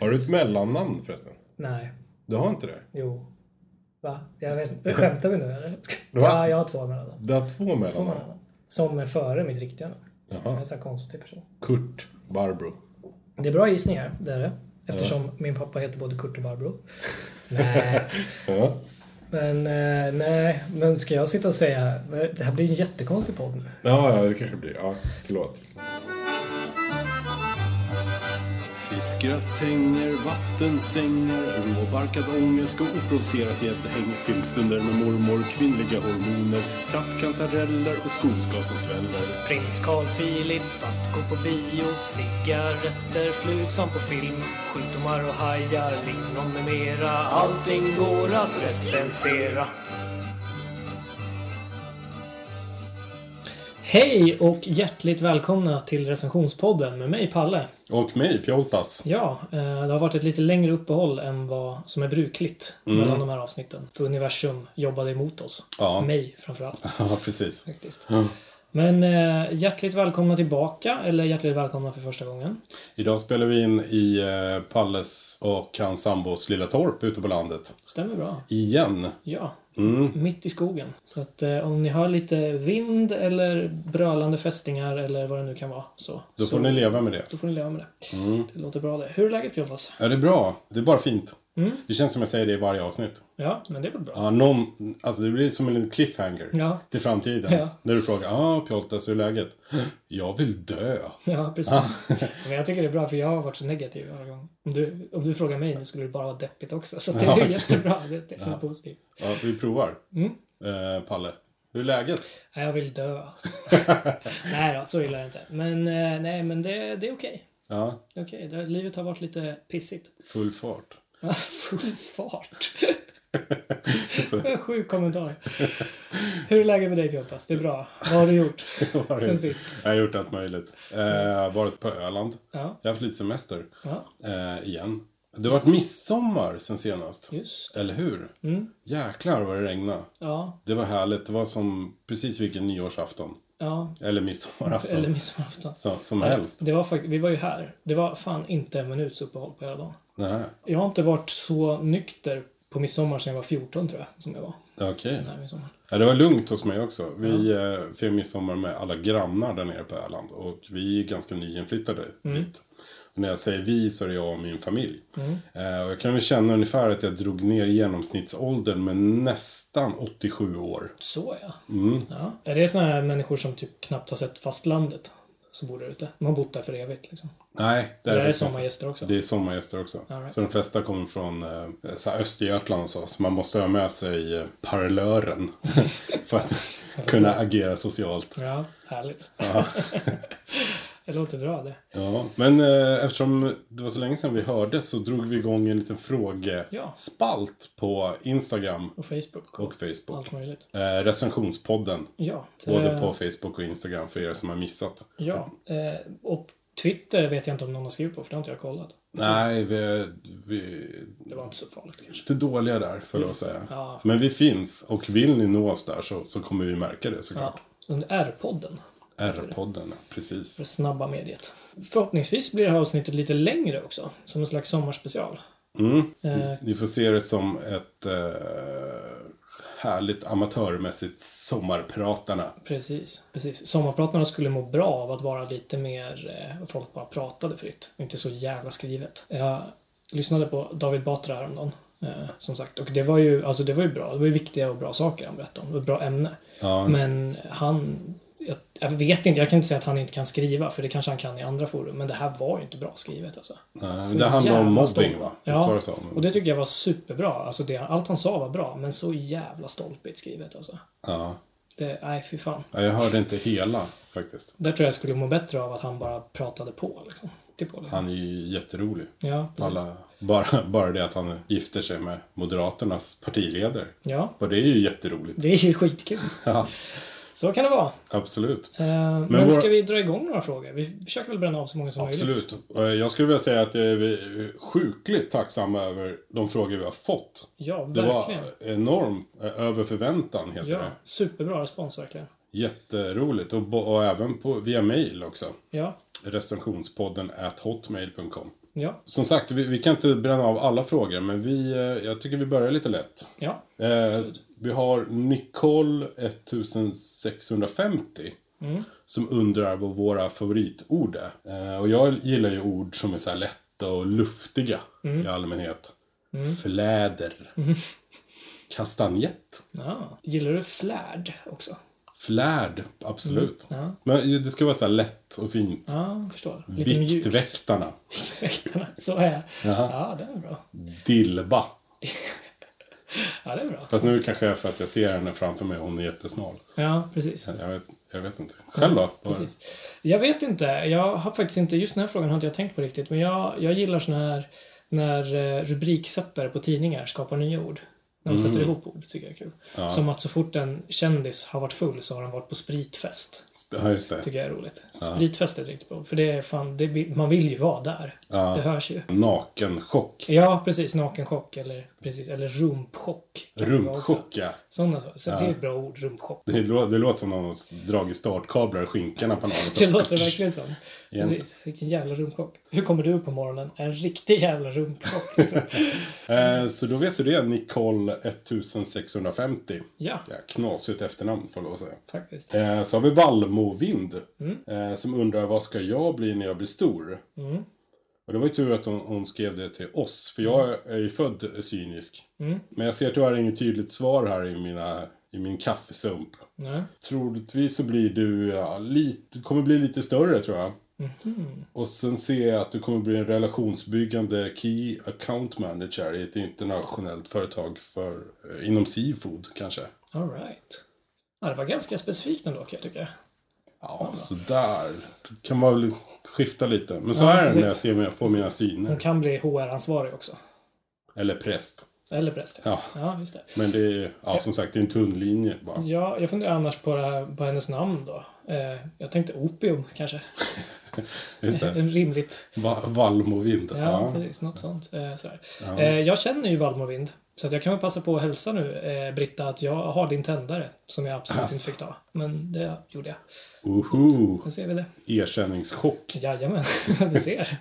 Har du ett mellannamn förresten? Nej. Du har inte det? Jo. Va? Jag vet inte. Skämtar vi nu eller? Va? Ja, jag har två mellannamn. Du har två Två mellannamn? mellannamn. Som är före mitt riktiga namn. Jag är Jaha. en sån här konstig person. Kurt Barbro. Det är bra gissning här, det är det. Eftersom min pappa heter både Kurt och Barbro. nej, Ja. men, eh, nej, men ska jag sitta och säga... Det här blir ju en jättekonstig podd nu. Ja, ja, det kanske blir. Ja, förlåt. Fiskgröt, tänger, vattensängar, råbarkad ångest och oprovocerat gäddhäng. Filmstunder med mormor, kvinnliga hormoner, trattkantareller och skogsgas som sväller. Prins Carl Philip att gå på bio Cigaretter, flug som på film Sjukdomar och hajar, lingon med mera Allting går att recensera Hej och hjärtligt välkomna till recensionspodden med mig, Palle. Och mig, Pjoltas. Ja, eh, det har varit ett lite längre uppehåll än vad som är brukligt mellan de här avsnitten. För universum jobbade emot oss. Ja. Mig framförallt. Ja, precis. Faktiskt. Ja. Men eh, hjärtligt välkomna tillbaka, eller hjärtligt välkomna för första gången. Idag spelar vi in i eh, Palles och hans sambos lilla torp ute på landet. Stämmer bra. Igen. Ja, Mm. mitt i skogen. Så att eh, om ni hör lite vind eller brölande fästingar eller vad det nu kan vara så, Då så får ni Mm. leva med det. då får ni leva med det. Det låter bra det. Hur är läget Jonas? Ja, det är bra. Det är bara fint. Mm. Det känns som jag säger det i varje avsnitt. Ja, men det är väl bra. Ja, någon, alltså det blir som en liten cliffhanger. Ja, Till framtiden. Ja. När du frågar ah, Pjoltas, hur är läget? Jag vill dö. ja precis. men jag tycker det är bra för jag har varit så negativ varje gång. Om du, om du frågar mig nu skulle det bara vara deppigt också. Så det är Ja. jättebra. Det är positivt. Ja, vi provar. Mm. Eh, Palle, hur är läget? Nej, jag vill dö. alltså. nej då, så illa är det inte. Men eh, nej, men det, det är okej. Ja, Det är okej. Det- Livet har varit lite pissigt. full fart. Ja, Full fart. Så, Sjuk kommentar. Hur är läget med dig Pjottas? Det är bra. Vad har du gjort vad har sen jag- sist? Jag har gjort allt möjligt. Eh, varit på Öland. Ja, Jag har haft lite semester. ja Eh, igen. Det har varit midsommar sen senast. just Eller hur? Mm. Jäklar vad det regnade. Ja, Det var härligt. Det var som precis vilken nyårsafton. ja. Eller midsommarafton. Eller midsommarafton. Så, som helst. Det var fakt- vi var ju här. Det var fan inte en minuts uppehåll på hela dagen. Nej, Jag har inte varit så nykter på midsommar sedan jag var 14 tror jag, som jag var okej. den här midsommaren. Ja, det var lugnt hos mig också. Vi eh, firade midsommar med alla grannar där nere på Öland. Och vi är ganska nyinflyttade Mm. dit. Och när jag säger vi så är det jag och min familj. Eh, och jag kan väl känna ungefär att jag drog ner genomsnittsåldern med nästan 87 år. Mm. Så ja. ja. Är det såna här människor som typ knappt har sett fastlandet? Så bor där ute. De har bott där för evigt liksom. Nej, det Det är faktiskt inte. sommargäster också. Det är sommargäster också. All right. Så de flesta kommer från eh, så här Östergötland och så. Så man måste ha med sig eh, parlören. för att kunna agera socialt. Ja, härligt. Ja. Det låter bra det. Ja, men eh, eftersom det var så länge sedan vi hördes så drog vi igång en liten Ja. frågespalt på Instagram Och Facebook och och Facebook. allt möjligt. Eh, recensionspodden, Ja. både eh, på Facebook och Instagram för er som har missat. Ja. eh, Och Twitter vet jag inte om någon har skrivit på, för det har inte jag kollat. Nej, vi, vi Det var inte så farligt kanske. lite dåliga där för att säga. Ja. Men vi finns och vill ni nå oss där så, så kommer vi märka det såklart. Ja. Under R-podden. R-podden, precis. Det snabba mediet. Förhoppningsvis blir det här avsnittet lite längre också. Som en slags sommarspecial. Mm. Eh, Ni får se det som ett eh, härligt amatörmässigt sommarpratarna. Precis, precis. Sommarpratarna skulle må bra av att vara lite mer, eh, folk bara pratade fritt. Inte så jävla skrivet. Jag lyssnade på David Batra häromdagen. Eh, som sagt, och det var ju, alltså det var ju bra. Det var ju viktiga och bra saker han berättade om. Det var ett bra ämne. Ja. Men han, jag, jag vet inte, jag kan inte säga att han inte kan skriva, för det kanske han kan i andra forum. Men det här var ju inte bra skrivet alltså. Nej, Så men det handlar om jävla mobbing stolp. va? Visst Ja, var det så? och det tycker jag var superbra. Alltså det, allt han sa var bra, men så jävla stolpigt skrivet alltså. Ja. Det, nej, fy fan. ja, jag hörde inte hela faktiskt. Där tror jag skulle må bättre av att han bara pratade på. Liksom. Typ på det. Han är ju jätterolig. Ja, precis. Alla, bara, bara det att han gifter sig med Moderaternas partiledare. Ja, Och det är ju jätteroligt. det är ju skitkul. Ja, Så kan det vara. absolut. Eh, men vår- ska vi dra igång några frågor? Vi försöker väl bränna av så många som möjligt. Absolut. Eh, Jag skulle vilja säga att eh, vi är sjukligt tacksamma över de frågor vi har fått. Ja, Det verkligen. var enorm, eh, över förväntan heter Ja, det. superbra respons verkligen. Jätteroligt. Och, bo- och även på, via mail också. Ja, Recensionspodden at hotmail.com. Ja, Som sagt, vi, vi kan inte bränna av alla frågor, men vi, eh, jag tycker vi börjar lite lätt. ja. Eh, vi har Nicole 1650. Mm. Som undrar vad våra favoritord är. Eh, och jag gillar ju ord som är så här lätta och luftiga Mm. i allmänhet. Fläder. Kastanjett. ja. Gillar du flärd också? Flärd, absolut. Mm. Ja. Men ju- det ska vara så här lätt och fint. Ja, jag förstår. Lite mjuk. Viktväktarna. Så är Jaha. Ja, det är bra. Dilba. Ja, det är bra. Fast nu kanske jag för att jag ser henne framför mig, hon är jättesmal. Ja, precis. Jag vet, jag vet inte. Själv då? precis. Jag vet inte. Jag har faktiskt inte, just den här frågan har inte jag tänkt på riktigt. Men jag, jag gillar såna här när eh, rubriksättare på tidningar skapar nya ord. När de Mm. sätter ihop ord tycker jag är kul. Som att så fort en kändis har varit full så har den varit på spritfest. Ja, just det. Tycker jag är roligt. Spritfest är ett riktigt bra ord. För det är fan, det, vill- man vill ju vara där. Det hörs ju. Nakenchock. Ja, precis. Nakenchock eller, precis, eller rumpchock. kan det vara också. Rumpchock, ja. Sådana, så- så det är ett bra ord, rumpchock. Det, lå- det låter som någon har dragit startkablar i skinkorna på någon. och så- Det låter verkligen som. Igen. Precis. Vilken jävla rumpchock. Hur kommer du upp på morgonen? En riktig jävla rumpchock. Liksom. Eh, så då vet du det, Nicole 1650. ja, Ja, knasigt efternamn får jag lov att säga. faktiskt. Eh, så har vi Valmovind. Eh, som undrar, vad ska jag bli när jag blir stor? Och det var ju tur att hon, hon skrev det till oss, för jag är ju född cynisk. Men jag ser tyvärr inget tydligt svar här i, mina, i min kaffesump. Nej. Troligtvis så blir du, ja, lite, du kommer bli lite större tror jag. Och sen ser jag att du kommer bli en relationsbyggande Key Account Manager i ett internationellt företag för, eh, inom Seafood kanske. All right. Ja, det var ganska specifikt ändå kan jag tycka. Ja, sådär. Kan man väl skifta lite. Men så Ja, är det när jag precis. Mm. ser jag får mina Hon syner. kan bli HR-ansvarig också. Eller präst. Eller präst. Ja. ja, just det. Men det är, ja som sagt, det är en tunn linje bara. Ja, jag funderar annars på, det här, på hennes namn då. Eh, jag tänkte opium kanske. Just det. En rimligt. Va- Valmovind. Ja, Ja, precis. Något sånt. Eh, sådär. Eh, jag känner ju Valmovind. Så att jag kan väl passa på att hälsa nu, eh, Britta, att jag har din tändare. Som jag absolut Alltså. inte fick ta. Men det gjorde jag. Uhu. Nu ser vi det. Erkänningschock. Jajamän, du ser.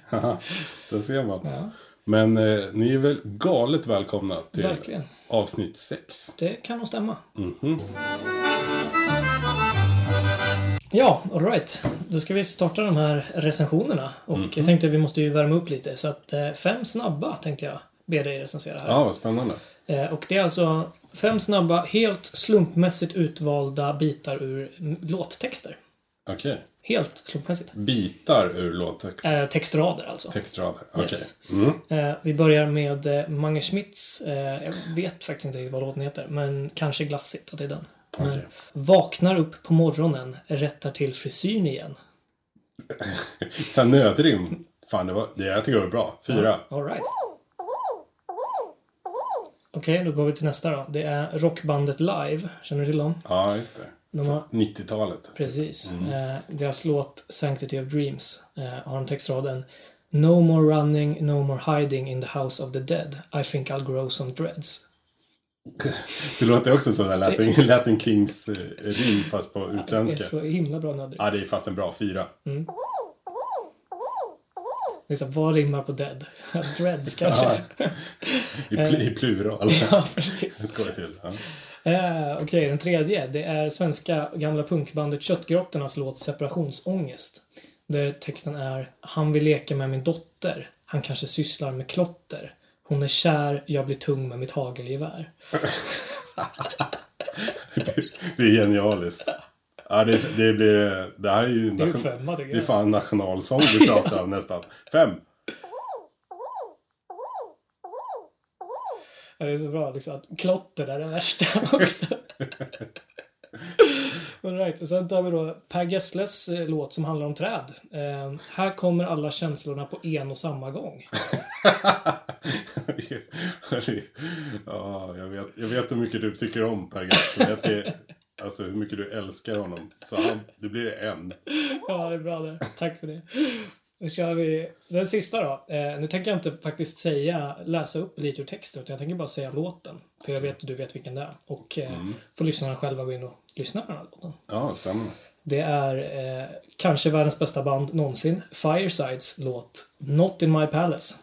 Där ser man. Ja, Men eh, ni är väl galet välkomna till Verkligen. avsnitt 6. det kan nog stämma. Ja, alright. Då ska vi starta de här recensionerna. Och jag tänkte vi måste ju värma upp lite. Så att eh, fem snabba tänkte jag be dig recensera här. Ja, vad spännande. Eh, och det är alltså fem snabba, helt slumpmässigt utvalda bitar ur mm, låttexter. Okej. Helt slumpmästigt. Bitar ur låttext. Eh, textrader alltså. Textrader. Okej. Yes. Mm. Eh, vi börjar med eh, Mange Schmitz. Eh, jag vet faktiskt inte riktigt vad låten heter, men kanske glassigt att det är den. Men, Okej. Vaknar upp på morgonen, rättar till frisyren igen. Sen nödrim. Fan, det var, det, jag tycker det var bra. Fyra. Alright. Okej, då går vi till nästa då. Det är rockbandet Live. Känner du till dem? Ja, just det. De har 90-talet. Precis. Mm. Eh, deras låt Sanctity of Dreams eh, har de textraden No more running, no more hiding in the house of the dead. I think I'll grow some dreads. Det låter också som där Latin, Latin Kings eh, rim fast på Det är utländska. så Mm. himla bra nödrop. Ja, det är fast en bra fyra. Det är så här, Vad rimmar på dead? dreads kanske? I, pl- i plural. ja, precis. Jag skojar till. Ja. Eh, Okej, den tredje. Det är svenska gamla punkbandet Köttgrottornas låt Separationsångest. Där texten är Han vill leka med min dotter. Han kanske sysslar med klotter. Hon är kär, jag blir tung med mitt hagelgevär. Det är genialiskt. Ja, det, det blir... eh, Det här är ju... Det är ju femma tycker Det är jag. fan nationalsång vi pratar om nästan. Fem. Ja, Det är så bra liksom att klotter är det värsta också. All right. och Sen tar vi då Per Gessles eh, låt som handlar om träd. Eh, här kommer alla känslorna på en och samma gång. ja, jag, vet, jag vet hur mycket du tycker om Per Gessle. Jag vet det- Alltså hur mycket du älskar honom. Så han, det blir en. Ja, det är bra det. Tack för det. Nu kör vi den sista då. Eh, nu tänker jag inte faktiskt säga, läsa upp lite ur texten, utan jag tänker bara säga låten. För jag vet att du vet vilken det är. Och eh, får lyssnarna själva gå in och lyssna på den här låten. Ja, spännande. Det är eh, kanske världens bästa band någonsin. Firesides låt Not in my palace.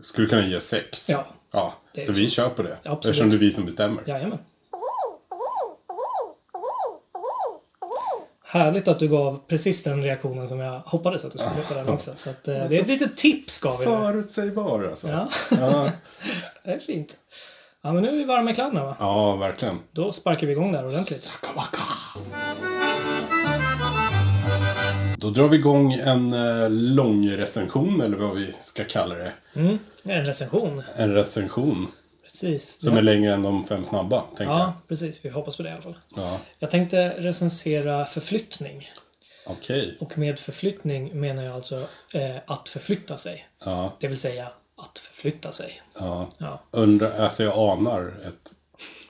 Skulle kunna ge sex. Ja. Ja, Det är så vi kör på det. Absolut. Eftersom det är vi som bestämmer. Jajamän. Härligt att du gav precis den reaktionen som jag hoppades att du skulle få den också. Så att, eh, det är ett litet tips gav vi nu. Förutsägbar alltså. Ja, Ja. det är fint. Ja, men nu är vi varma i kläderna va? ja, verkligen. Då sparkar vi igång där ordentligt. Sakawaka. Då drar vi igång en eh, lång recension eller vad vi ska kalla det. Mm. En recension. En recension Precis. som ja. är längre än de fem snabba, tänkte ja, precis. Vi hoppas på det i alla fall. jag. Ja. Jag tänkte recensera förflyttning. Okej. Och med förflyttning menar jag alltså eh, att förflytta sig. Ja, Det vill säga att förflytta sig. ja. Ja, Undrar, alltså jag anar ett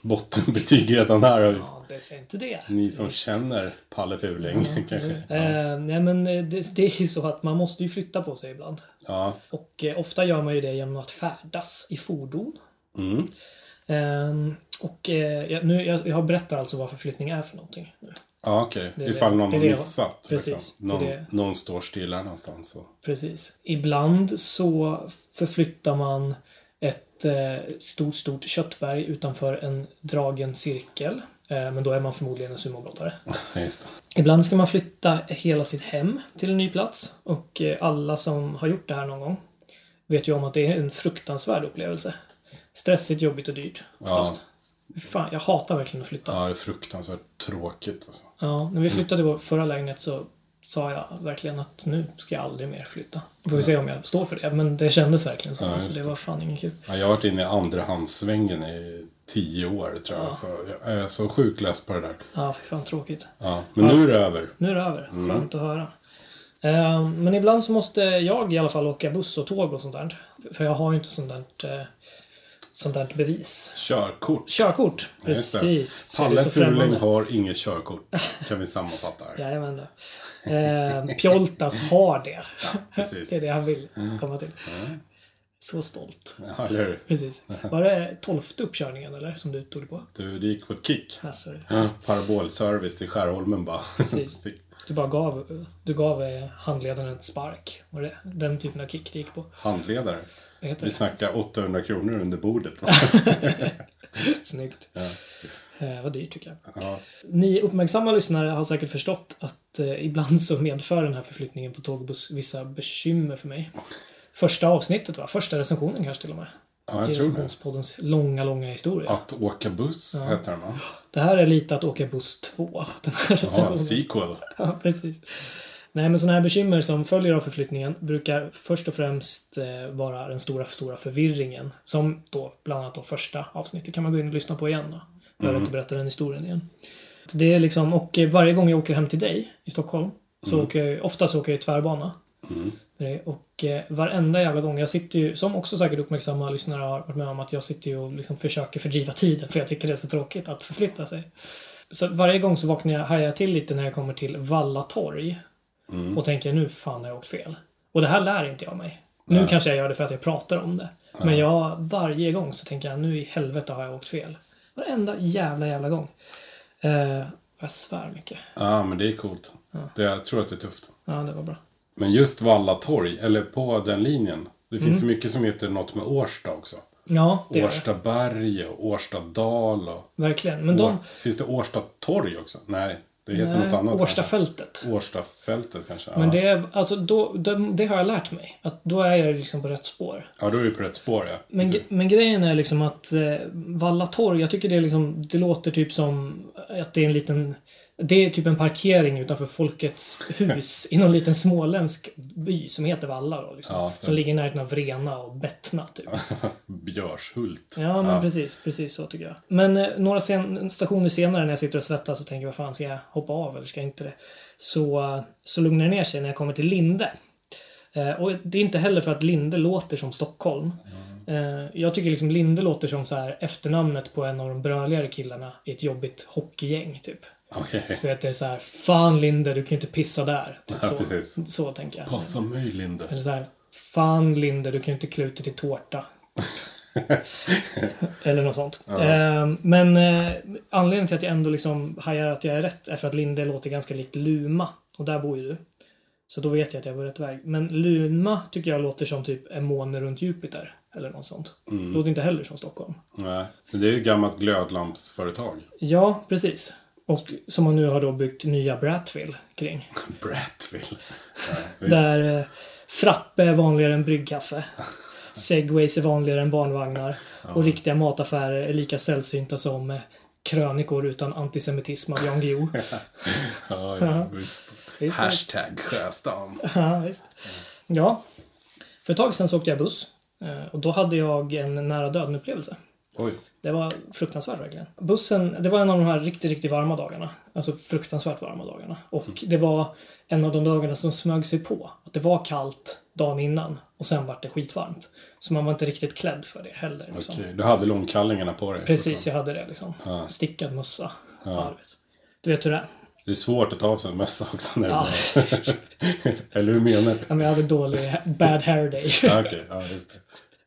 bottenbetyg redan här. ja det säger inte det. Ni som känner Palle Fuling kanske. Ja. Eh, nej men eh, det, det är ju så att man måste ju flytta på sig ibland. ja. Och eh, ofta gör man ju det genom att färdas i fordon. Mm. Eh, och eh, jag, nu, jag, jag berättar alltså vad förflyttning är för någonting. Nu. Ja, okej. Det är Ifall det- någon det är har det jag- missat. Precis, liksom. det är någon, det. någon står stilla någonstans. Så. Precis. Ibland så förflyttar man ett eh, stort, stort köttberg utanför en dragen cirkel. Eh, men då är man förmodligen en sumobrottare. Ja, Just det. Ibland ska man flytta hela sitt hem till en ny plats. Och eh, alla som har gjort det här någon gång vet ju om att det är en fruktansvärd upplevelse. Stressigt, jobbigt och dyrt. Oftast. Fan, jag hatar verkligen att flytta. Ja, det är fruktansvärt tråkigt. Alltså. Ja, när vi flyttade vår förra lägenhet så sa jag verkligen att nu ska jag aldrig mer flytta. Får vi se om jag står för det, men det kändes verkligen så. Ja, just så det var fan ingen kul. Ja, jag har varit inne i andrahandssvängen i tio år tror jag. Så jag är så sjukt less på det där. Ja, fy fan tråkigt. Ja. Men nu är det över. Nu är det över. Mm. Skönt att höra. Eh, Men ibland så måste jag i alla fall åka buss och tåg och sånt där. För jag har ju inte sånt där, eh, sånt där bevis. Körkort. Körkort! Just det. Precis. Så det är Palle så Fuling främmande. har inget körkort. Kan vi sammanfatta här. Jajamän. då. Eh, Pjoltas har det. precis. det är det han vill komma till. Så stolt. Ja, eller hur? Precis. Var det tolfte uppkörningen eller? Som du tog det på? Du, det gick på ett kick. Ja, sorry. Ja. Parabolservice i Skärholmen bara. Precis. Du bara gav, du gav eh, handledaren en spark. Var det den typen av kick det gick på? Handledare. Vad heter Vi det? snackar 800 kronor under bordet. Snyggt. Eh, vad dyrt tycker jag. Ja. Ni uppmärksamma lyssnare har säkert förstått att eh, ibland så medför den här förflyttningen på tåg och buss vissa bekymmer för mig. Första avsnittet va? Första recensionen kanske till och med. ja, I jag tror det. recensionspoddens långa, långa historia. Att åka buss heter den va? Det här är lite att åka buss 2. Den här Ja, recensionen. sequel. Ja, precis. Nej, men sådana här bekymmer som följer av förflyttningen brukar först och främst eh, vara den stora, stora förvirringen. Som då, bland annat då första avsnittet kan man gå in och lyssna på igen då. Behöver inte berätta den historien igen. Det är liksom, och eh, varje gång jag åker hem till dig i Stockholm så åker jag ju- oftast åker jag ju tvärbana. Det är- Och eh, varenda jävla gång, jag sitter ju, som också säkert uppmärksamma lyssnare har varit med om, att jag sitter ju och liksom försöker fördriva tiden för jag tycker det är så tråkigt att förflytta sig. Så varje gång så vaknar jag, hajar jag till lite när jag kommer till Valla torg. Mm. Och tänker nu fan har jag åkt fel. Och det här lär inte jag mig. Nu kanske jag gör det för att jag pratar om det. Men jag, varje gång så tänker jag nu i helvete har jag åkt fel. Varenda jävla jävla gång. Eh, jag svär mycket. Ja, men det är coolt. Det, jag tror att det är tufft. Ja, det var bra. Men just Valla torg, eller på den linjen. Det finns ju mycket som heter något med Årsta också. Ja, Mm. det gör det. Årstaberg och Årstadal och... Verkligen. Men de... och- Finns det Årsta torg också? Nej, det heter något Nej, annat. Årstafältet. Årstafältet kanske. Men ja. det, är, alltså, då, det, det har jag lärt mig. Att då är jag liksom på rätt spår. ja, då är du på rätt spår ja. Men, Precis. gre- men grejen är liksom att eh, Valla torg, jag tycker det, är liksom, det låter typ som att det är en liten... Det är typ en parkering utanför Folkets hus i någon liten småländsk by som heter Valla då. Liksom, Ja, så- som ligger i närheten av Vrena och Bettna typ. Björshult. Ja, men precis. Precis så tycker jag. Men eh, några sen, stationer senare när jag sitter och svettas och tänker vad fan ska jag hoppa av eller ska jag inte det? Så, eh, så lugnar det ner sig när jag kommer till Linde. Eh, och det är inte heller för att Linde låter som Stockholm. Mm. Eh, jag tycker liksom Linde låter som så här efternamnet på en av de bröligare killarna i ett jobbigt hockeygäng typ. Okej. Du vet, det är så här Fan Linde, du kan ju inte pissa där. Typ Ja, så. precis. så tänker jag. Passa mig Linde. Eller så här, fan Linde, du kan ju inte kluta till tårta. Eller något sånt. Ja. Ehm, men eh, anledningen till att jag ändå liksom hajar att jag är rätt är för att Linde låter ganska likt Luma. Och där bor ju du. Så då vet jag att jag är på rätt väg. Men Luma tycker jag låter som typ en måne runt Jupiter. Eller något sånt. Låter inte heller som Stockholm. Nej. Men det är ju ett gammalt glödlampsföretag. Ja, precis. Och som man nu har då byggt nya Bratville kring. Brattville. Där eh, frappe är vanligare än bryggkaffe. Segways är vanligare än barnvagnar. Och riktiga mataffärer är lika sällsynta som eh, krönikor utan antisemitism av Jan Guillou. Ja, ja, visst. Visst, Hashtag Sjöstan. Ja, visst. Ja. För ett tag sedan så åkte jag buss. eh, Och då hade jag en nära döden-upplevelse. Oj. Det var fruktansvärt verkligen. Bussen, det var en av de här riktigt, riktigt varma dagarna. Alltså fruktansvärt varma dagarna. Och det var en av de dagarna som smög sig på. Att det var kallt dagen innan och sen vart det skitvarmt. Så man var inte riktigt klädd för det heller. Liksom. Okej, du hade långkallingarna på dig. Precis, jag hade det liksom. Stickad mössa på arvet. Du vet hur det är. Det är svårt att ta av sig en mössa också. När ja. Eller hur menar du? Ja, men Jag hade dålig bad hair day. Ja, Okej, ja just det.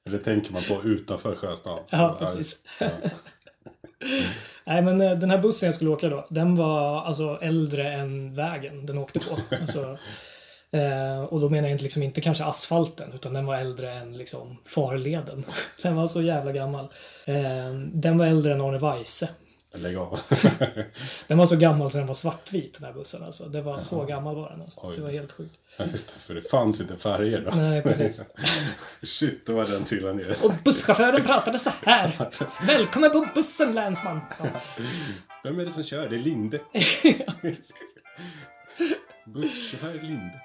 Eller tänker man på utanför Sjöstan. Ja, precis. Nej, men eh, den här bussen jag skulle åka då, den var alltså äldre än vägen den åkte på. Alltså, eh, och då menar jag inte, liksom, inte kanske asfalten, utan den var äldre än liksom, farleden. Den var så jävla gammal. Eh, den var äldre än Arne Weise. Lägg av. Den var så gammal så den var svartvit, den här bussen. Alltså. Det var så gammal var den. Alltså. Oj. Det var helt sjukt. Ja, just det, för det fanns inte färger då. Nej, precis. Shit, då var den trillat ner. Och busschauffören pratade så här. Välkommen på bussen, länsman! sa han. Vem är det som kör? Det är Linde. Busschaufför Linde.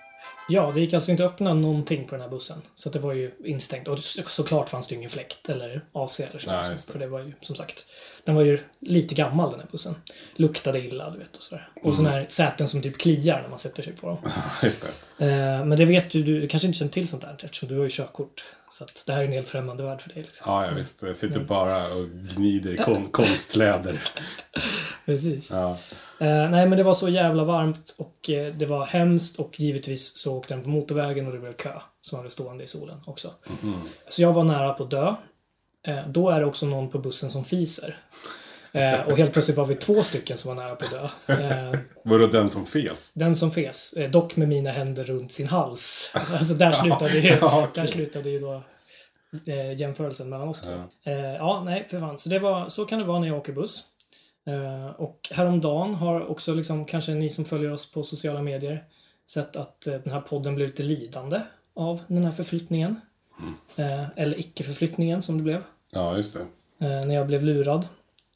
Ja, det gick alltså inte att öppna någonting på den här bussen. Så att det var ju instängt. Och så- såklart fanns det ju ingen fläkt eller AC eller så. Nej, liksom. just det. För det var ju som sagt, den var ju lite gammal den här bussen. Luktade illa, du vet och sådär. Och Mm. sådana här säten som typ kliar när man sätter sig på dem. Ja, just det. Eh, men det vet ju du, du kanske inte känner till sånt där eftersom du har ju körkort. Så att det här är en helt främmande värld för dig. Liksom. Ja, ja, visst. Jag sitter bara och gnider i kon- konstläder. Precis. Ja. Eh, nej, men det var så jävla varmt och eh, det var hemskt och givetvis så åkte den på motorvägen och det blev kö som hade stående i solen också. Mhm. Så jag var nära på att dö. Eh, då är det också någon på bussen som fiser. Eh, och helt plötsligt var vi två stycken som var nära på att dö. Eh, Var det den som fes? den som fes, eh, dock med mina händer runt sin hals. Alltså där slutade ju, ja, okej. där slutade ju då eh, jämförelsen mellan oss två. Ja. Eh, ja, nej, för fan. Så, det var, så kan det vara när jag åker buss. Eh, och häromdagen har också liksom, kanske ni som följer oss på sociala medier sett att eh, den här podden blev lite lidande av den här förflyttningen. Eh, eller icke-förflyttningen som det blev. Ja, just det. Eh, när jag blev lurad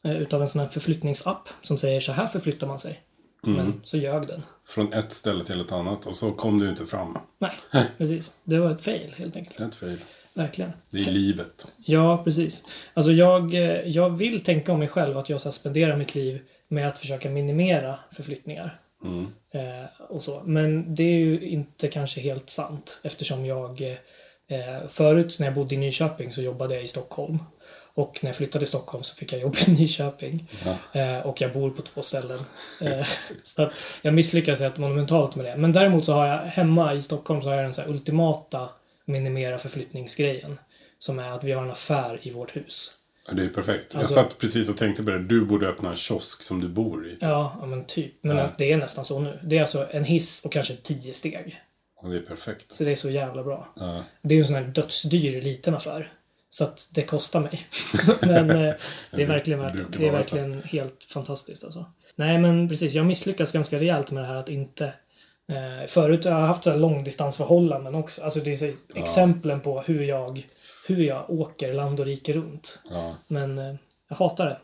eh, utav en sån här förflyttningsapp som säger så här förflyttar man sig. Men så ljög den. Från ett ställe till ett annat och så kom du inte fram. Nej, precis. Det var ett fail helt enkelt. Ett fel. Verkligen. Det är livet. Ja, precis. Alltså jag, eh, jag vill tänka om mig själv att jag så här spenderar mitt liv med att försöka minimera förflyttningar. Eh, och så. Men det är ju inte kanske helt sant eftersom jag eh, förut när jag bodde i Nyköping så jobbade jag i Stockholm. Och när jag flyttade till Stockholm så fick jag jobb i Nyköping. Eh, och jag bor på två ställen. Eh, så att jag misslyckas helt monumentalt med det. Men däremot så har jag hemma i Stockholm så har jag den så här ultimata minimera förflyttningsgrejen. Som är att vi har en affär i vårt hus. Ja, Det är perfekt. Alltså- Jag satt precis och tänkte på det. Du borde öppna en kiosk som du bor i. Ja, ja men typ. Men Ja. det är nästan så nu. Det är alltså en hiss och kanske tio steg. Och det är perfekt. Så det är så jävla bra. Ja. Det är ju en sån här dödsdyr liten affär. Så att det kostar mig. men eh, det är verkligen värt det. brukar Det är vara så. verkligen helt fantastiskt alltså. Nej men precis, jag misslyckas ganska rejält med det här att inte eh, Förut har jag haft så här långdistansförhållanden också. Alltså det är så, exemplen på hur jag, hur jag åker land och rike runt. Ja. Men eh, jag hatar det.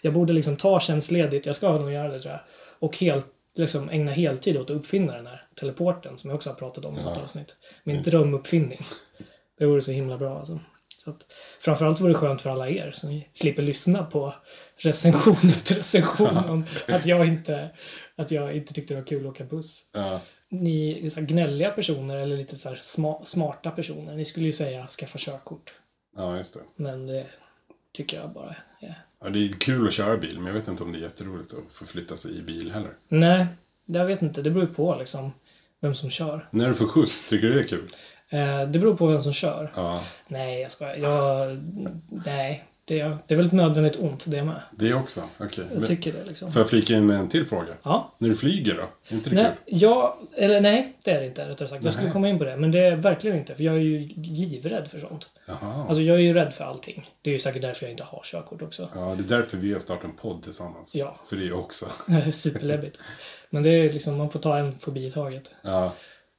Jag borde liksom ta tjänstledigt, jag ska nog göra det tror jag. Och helt, liksom ägna heltid åt att uppfinna den här teleporten som jag också har pratat om i något avsnitt. Min drömuppfinning. Det vore så himla bra alltså. Så att, framförallt vore det skönt för alla er så ni slipper lyssna på recension efter recension om att jag inte, att jag inte tyckte det var kul att åka buss Ja. ni är så här gnälliga personer eller lite så här sma, smarta personer, ni skulle ju säga skaffa körkort. ja, just det. Men det tycker jag bara är... Ja, det är kul att köra bil, men jag vet inte om det är jätteroligt att förflytta sig i bil heller. Nej, jag vet inte. Det beror ju på liksom vem som kör. När du får skjuts, tycker du det är kul? Eh, Eh, det beror på vem som kör. Ja, Nej, jag skojar. Jag, nej, det, är- det är väl ett nödvändigt ont det med. det också. Okej. Jag Men- tycker det liksom. Får jag flika in med en till fråga? Ja. När du flyger då? Är inte det Nej, kul? ja, eller nej, det är det inte rättare sagt. Jag skulle Nej. komma in på det, men det är verkligen inte. För jag är ju livrädd för sånt. Jaha. Alltså jag är ju rädd för allting. Det är ju säkert därför jag inte har körkort också. Ja, det är därför vi har startat en podd tillsammans. Ja. För det också. Superläbbigt. Men det är liksom, man får ta en fobi i taget. Ja,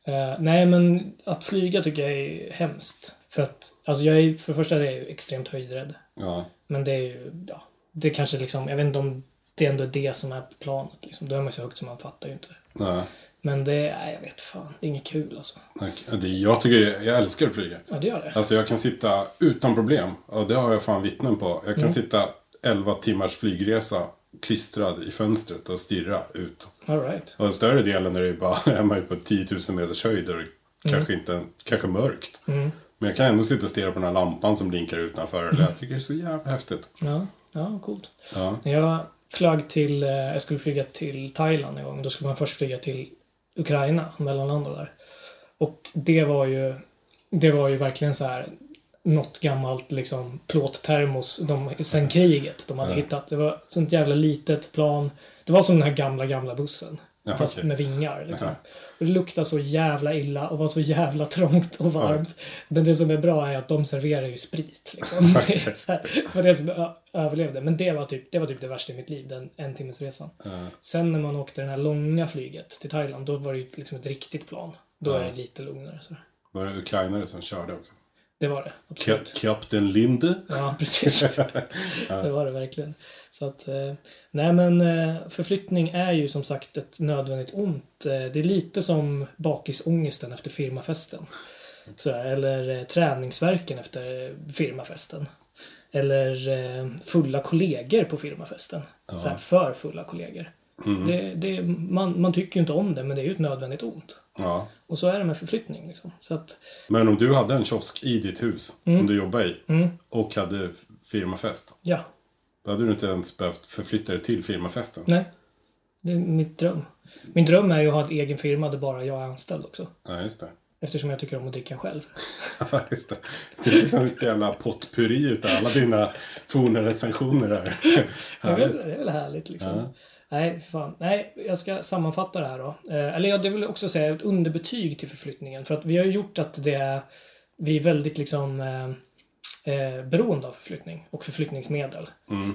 Eh, nej, men att flyga tycker jag är hemskt. För att, alltså jag är, för det första är jag ju extremt höjdrädd. ja, Men det är ju, ja, det kanske liksom, jag vet inte om det ändå är det som är planet liksom. Då är man ju så högt som man fattar ju inte. nej. Men det, nej, jag vet fan, det är inget kul alltså. Okej, det- Jag tycker, jag älskar att flyga. Ja, det gör det. Alltså jag kan sitta utan problem, och det har jag fan vittnen på. Jag kan sitta 11 timmars flygresa klistrad i fönstret och stirra ut. All right. Och större delen är det ju bara, är man ju på 10 000 meters höjd och det kanske, inte, kanske mörkt. Men jag kan ändå sitta och stirra på den här lampan som blinkar utanför. Eller jag tycker det är så jävla häftigt. Ja, ja, coolt. Ja, När jag flög till, eh, jag skulle flyga till Thailand en gång. Då skulle man först flyga till Ukraina, mellanlanda där. Och det var ju, det var ju verkligen så här något gammalt liksom plåttermos de, sen kriget de hade hittat. Det var sånt jävla litet plan. Det var som den här gamla, gamla bussen. Ja, fast okej. med vingar liksom. Ja. Och det luktade så jävla illa och var så jävla trångt och varmt. Men det som är bra är att de serverar ju sprit liksom. Det, är så här, det var det som ö- överlevde. Men det var, typ, det var typ det värsta i mitt liv, den en timmes resan. Eh, Sen när man åkte det här långa flyget till Thailand, då var det ju liksom ett riktigt plan. Då är det lite lugnare. Så. var det ukrainare som körde också? Det var det, Kap- absolut. Kapten Linde? Ja, precis. Det var det verkligen. Så att, eh, nej men eh, förflyttning är ju som sagt ett nödvändigt ont. Eh, Det är lite som bakisångesten efter firmafesten. Så här, eller eh, träningsverken efter firmafesten. Eller eh, fulla kollegor på firmafesten. Så här, för fulla kollegor. Det, det, man, man tycker ju inte om det, men det är ju ett nödvändigt ont. Ja. Och så är det med förflyttning. Liksom. Så att, Men om du hade en kiosk i ditt hus som du jobbar i och hade firmafest. ja, Då hade du inte ens behövt förflytta dig till firmafesten. Nej. Det är mitt dröm. Min dröm är ju att ha en egen firma där bara jag är anställd också. Ja, just det. Eftersom jag tycker om att dricka själv. Ja, just det. det är liksom ett jävla potpurri utav alla dina forna recensioner här. Det är, väl, Härligt. det är väl härligt liksom. Nej, fan. Nej, jag ska sammanfatta det här då. Eh, eller jag det vill också säga ett underbetyg till förflyttningen. För att vi har ju gjort att det är, vi är väldigt liksom eh, eh, beroende av förflyttning och förflyttningsmedel.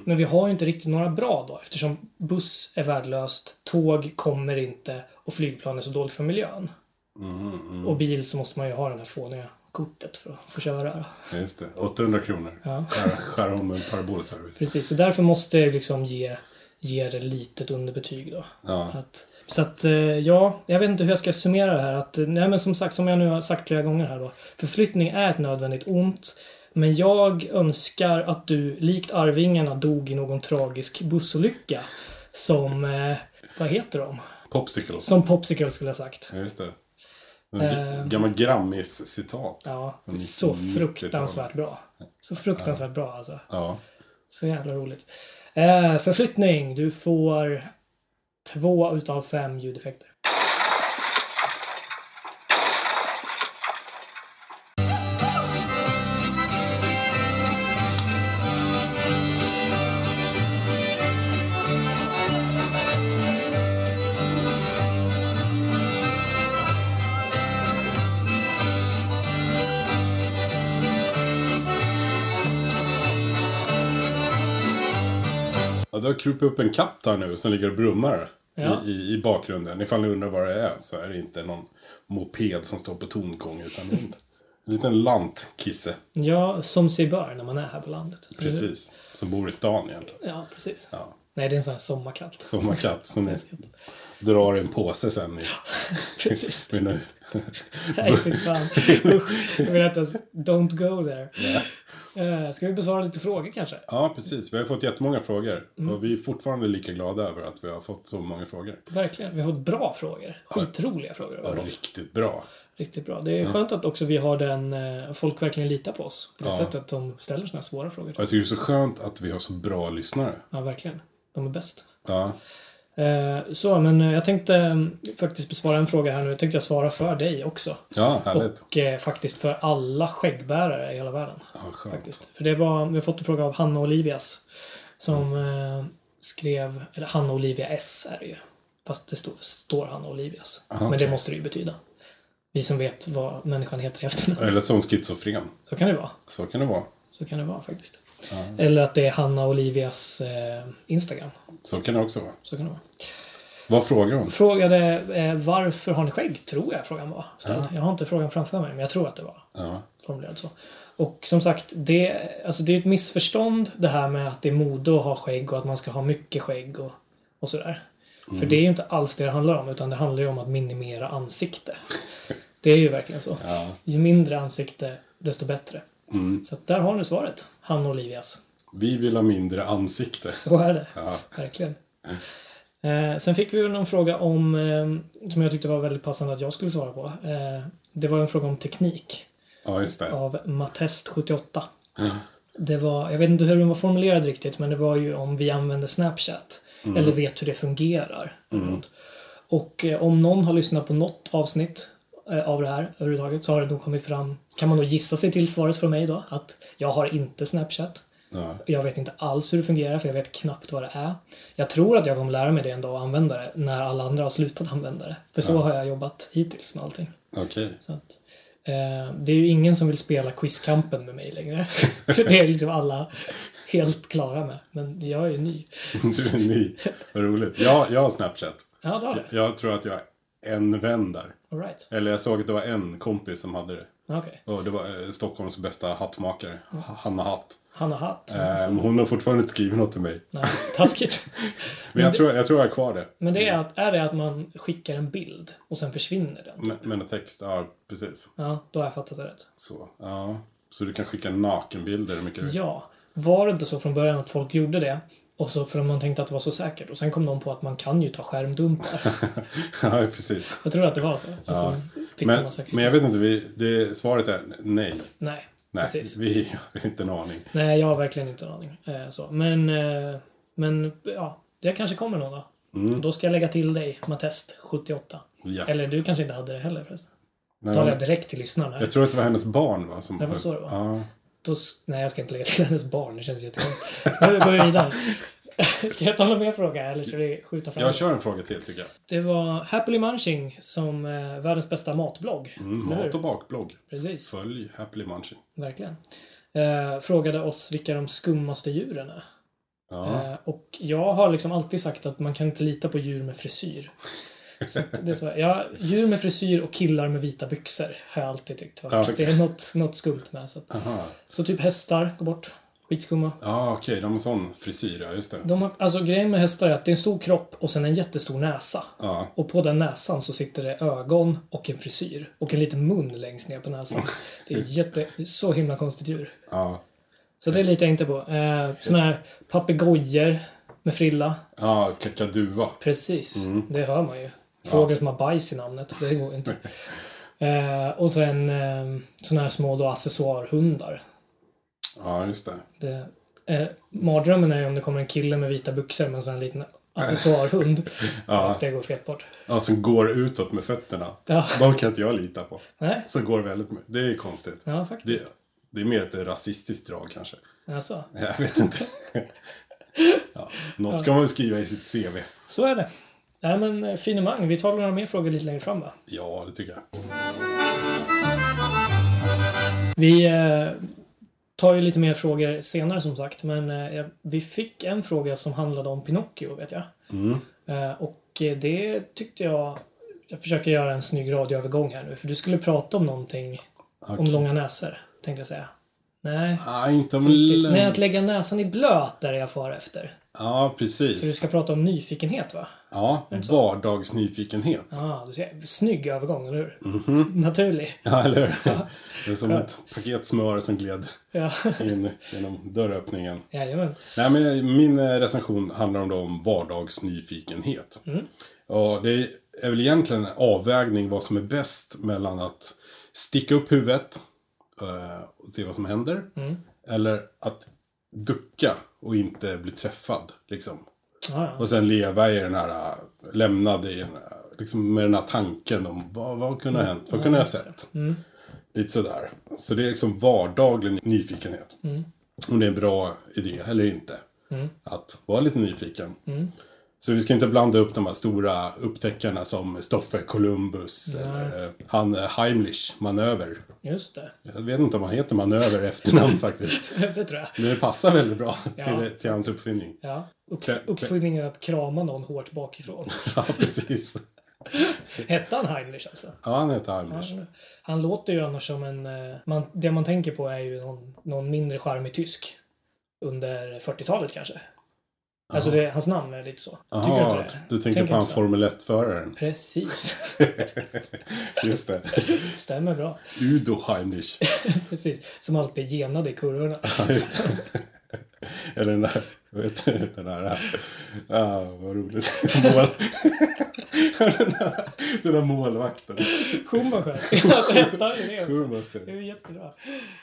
Men vi har ju inte riktigt några bra då eftersom buss är värdelöst, tåg kommer inte och flygplan är så dåligt för miljön. Mm, Och bil så måste man ju ha den här fåniga kortet för att få köra. Då. Ja, just det. 800 kronor. Ja. Skär- Skär om en parabolservice. Precis, så därför måste jag liksom ge, ge det lite ett underbetyg då. Ja. Att, så att, eh, ja, jag vet inte hur jag ska summera det här. Att, eh, nej, men som sagt, som jag nu har sagt flera gånger här då. Förflyttning är ett nödvändigt ont. Men jag önskar att du, likt Arvingarna, dog i någon tragisk bussolycka. Som, eh, vad heter de? Popsicles. Som Popsicle skulle ha sagt. Ja, just det. En g- gammal Grammis-citat. Ja, Från så 1990-talet. fruktansvärt bra. Så fruktansvärt bra alltså. Ja. Så jävla roligt. Eh, förflyttning. Du får två utav fem ljudeffekter. Ja, det har krupit upp en katt här nu som ligger och brummar Ja. i, i, i bakgrunden. Ifall ni undrar vad det är så är det inte någon moped som står på tongång utan en liten lantkisse. Ja, som sig bör när man är här på landet. Precis. Som bor i stan egentligen. Ja, precis. Ja. Nej, det är en sån här sommarkatt. Sommarkatt som ni Svensk katt. drar i en påse sen i, Precis. i nu. Nej, fy fan. Usch, Jag vill inte ens... Don't go there. Eh, ska vi besvara lite frågor kanske? Ja, precis. Vi har fått jättemånga frågor. Och vi är fortfarande lika glada över att vi har fått så många frågor. Verkligen. Vi har fått bra frågor. Skitroliga frågor. har Ja, vi fått. riktigt Mm. bra. Riktigt bra. Det är skönt att också vi har den... eh, Folk verkligen litar på oss. På det Ja. sättet att de ställer såna här svåra frågor. Och jag tycker det är så skönt att vi har så bra lyssnare. Ja, verkligen. De är bäst. Ja, Eh, Eh, Så, men eh, jag tänkte eh, faktiskt besvara en fråga här nu. Jag tänkte jag svara för dig också. Ja, härligt. Och eh, faktiskt för alla skäggbärare i hela världen. Ja, skönt. faktiskt. För det var, vi har fått en fråga av Hanna Olivias. Som Mm. eh, skrev, eller Hanna Olivia S är det ju. Fast det står, står Hanna Olivias. Ah, Men okej. det måste det ju betyda. Vi som vet vad människan heter i efternamn. Eller som schizofren. Så kan det vara. Så kan det vara. Så kan det vara faktiskt. Ja. Eller att det är Hanna Olivias eh, Instagram. Så kan det också vara. Så kan det vara. Vad frågar hon? Frågade eh, varför har ni skägg? Tror jag frågan var. ställd. Jag har inte frågan framför mig, men jag tror att det var Ja. formulerad så. Och som sagt, det, alltså det är ett missförstånd det här med att det är mode att ha skägg och att man ska ha mycket skägg och, och sådär. För det är ju inte alls det det handlar om, utan det handlar ju om att minimera ansikte. Det är ju verkligen så. ja. Mm. Ju mindre ansikte, desto bättre. Så att där har ni svaret, Hanna Olivias. Vi vill ha mindre ansikte. Så är det. Ja. Verkligen. Eh, sen fick vi ju någon fråga om, eh, som jag tyckte var väldigt passande att jag skulle svara på. Eh, det var en fråga om teknik ja, just det. av Matest78. Ja. Det var, jag vet inte hur den var formulerad riktigt, men det var ju om vi använder Snapchat. Eller vet hur det fungerar. eller något. Och eh, om någon har lyssnat på något avsnitt eh, av det här överhuvudtaget så har det nog kommit fram, kan man då gissa sig till svaret från mig då, att jag har inte Snapchat. Ja. Jag vet inte alls hur det fungerar för jag vet knappt vad det är. Jag tror att jag kommer lära mig det en dag och använda det när alla andra har slutat använda det. För så har jag jobbat hittills med allting. Okej. Så att, eh, det är ju ingen som vill spela quizkampen med mig längre. för det är liksom alla helt klara med. Men jag är ju ny. Du är ny. Vad roligt. Ja, jag har Snapchat. Ja, det har du. Jag tror att jag har en vän där. Alright. Eller jag såg att det var en kompis som hade det. Okej. Och det var eh, Stockholms bästa hattmakare. Hanna Hatt. Hanna Hatt. Eh, hon har fortfarande inte skrivit något till mig. Nej, taskigt. Men jag tror jag, tror jag har kvar det. Men det är, att, är det att man skickar en bild och sen försvinner den? Men- Men en text, ja precis. Ja, då har jag fattat det rätt. Så, ja. Så du kan skicka nakenbilder hur mycket du Ja. Var det inte så från början att folk gjorde det? Och så för att man tänkte att det var så säkert. Och sen kom någon på att man kan ju ta skärmdumpar. Ja, precis. Jag tror att det var så. Och sen fick man Men, massa klick. men jag vet inte, vi, det, svaret är nej. Nej, Nej, precis. vi har inte en aning. Nej, jag har verkligen inte en aning. Eh, så. Men, eh, men ja, det kanske kommer någon då. Mm. Då ska jag lägga till dig, Matest, 78. Ja. Eller du kanske inte hade det heller förresten. Nej, Talar jag men- direkt till lyssnaren här. jag tror att det var hennes barn va? Som, Det var så det var. Ja. Då, s- nej, jag ska inte lägga till hennes barn. Det känns jättekonstigt. Nu går vi vidare. Ska jag ta någon mer fråga eller ska vi skjuta fram Jag det? kör en fråga till tycker jag. Det var Happily Munching som eh, världens bästa matblogg. Mm, Eller mat hur? och bakblogg. Precis, Följ Happily Munching. verkligen. Eh, frågade oss vilka de skummaste djuren är. Ja. Eh, Och jag har liksom alltid sagt att man kan inte lita på djur med frisyr. Så att det är så. Ja, djur med frisyr och killar med vita byxor har jag alltid tyckt varit. Ja, okej. Det är något, något skumt med. Så, att, Aha. så typ hästar, gå bort. Skitskumma. Ja, okej. De har sån frisyr, ja. Just det. De har, alltså grejen med hästar är att det är en stor kropp och sen en jättestor näsa. Ja. Och på den näsan så sitter det ögon och en frisyr. Och en liten mun längst ner på näsan. Det är jätte, så himla konstigt djur. Ja. Så det litar jag inte på. Eh, Såna här papegojor med frilla. Ja, kakadua. Precis, det hör man ju. Fågel som har bajs i namnet, det går inte. eh, och sen eh, sådana här små då accessoarhundar. Ja, just det. Det, eh, mardrömmen är ju om det kommer en kille med vita byxor med en sån här liten accessoarhund. ja. Det går fet bort. Ja, som går utåt med fötterna. Ja. De kan inte jag lita på. Nej, Som går väldigt... med- Det är konstigt. ja faktiskt. Det, det är mer ett rasistiskt drag kanske. Alltså, Jag vet inte. ja, något ska man väl skriva i sitt CV. så är det. Nej men eh, finemang, vi tar några mer frågor lite längre fram va? Ja, det tycker jag. Vi eh, tar ju lite mer frågor senare som sagt, men eh, jag- vi fick en fråga som handlade om Pinocchio vet jag. Mm, Eh, och eh, det tyckte jag... Jag försöker göra en snygg radioövergång här nu, för du skulle prata om någonting om Okej. långa näsor, tänkte jag säga. Nej. Ah, inte om riktigt. Nej, lön. att lägga näsan i blöt där är jag far efter. Ja, För du precis. ska prata om nyfikenhet va? Ja, vardagsnyfikenhet. Ja, ah, du ser. Snygg övergång, eller hur? Naturlig. Ja, eller hur? Det är som ett paket smör som gled Ja, in genom dörröppningen. jajamän. Nej, men min eh, recension handlar om, då om vardagsnyfikenhet. Och det är väl egentligen en avvägning vad som är bäst mellan att sticka upp huvudet eh, och se vad som händer. Eller att ducka och inte bli träffad. Liksom. Ah, Ja, ja. Och sen leva i den här, äh, lämnad i den här, liksom med den här tanken om vad, vad kunde ha hänt, vad kunde jag ha sett? Mm. Lite sådär. Så det är liksom vardaglig nyfikenhet. Mm. Om det är en bra idé eller inte. Att vara lite nyfiken. Mm. Så vi ska inte blanda upp de här stora upptäckarna som Stoffe Columbus eller eh, han eh, Heimlich, Manöver. Just det. Jag vet inte om han heter Manöver i efternamn faktiskt. det tror jag. Men det passar väldigt bra Ja. till, till hans uppfinning. Ja. Upp, Klä- klä- uppfinningen att krama någon hårt bakifrån. Ja, precis. Hette han Heimlich alltså? Ja, han heter Heimlich. Han, han låter ju annars som en... eh, Man, det man tänker på är ju någon, någon mindre charmig tysk. Under 40-talet kanske. Alltså det, hans namn är lite så. Tycker du inte Jaha, det? du tänker på jag han också. Formel 1-föraren. Precis. Just det. Stämmer bra. Udo Heimlich. Precis. Som alltid genade i kurvorna. Ja, Just det. Eller den där, jag vet du, den där, ah, vad roligt. Mål. Den där, den där målvakten. Schumacher. Alltså hette han ju det också. Det är Schumacher. ju jättebra.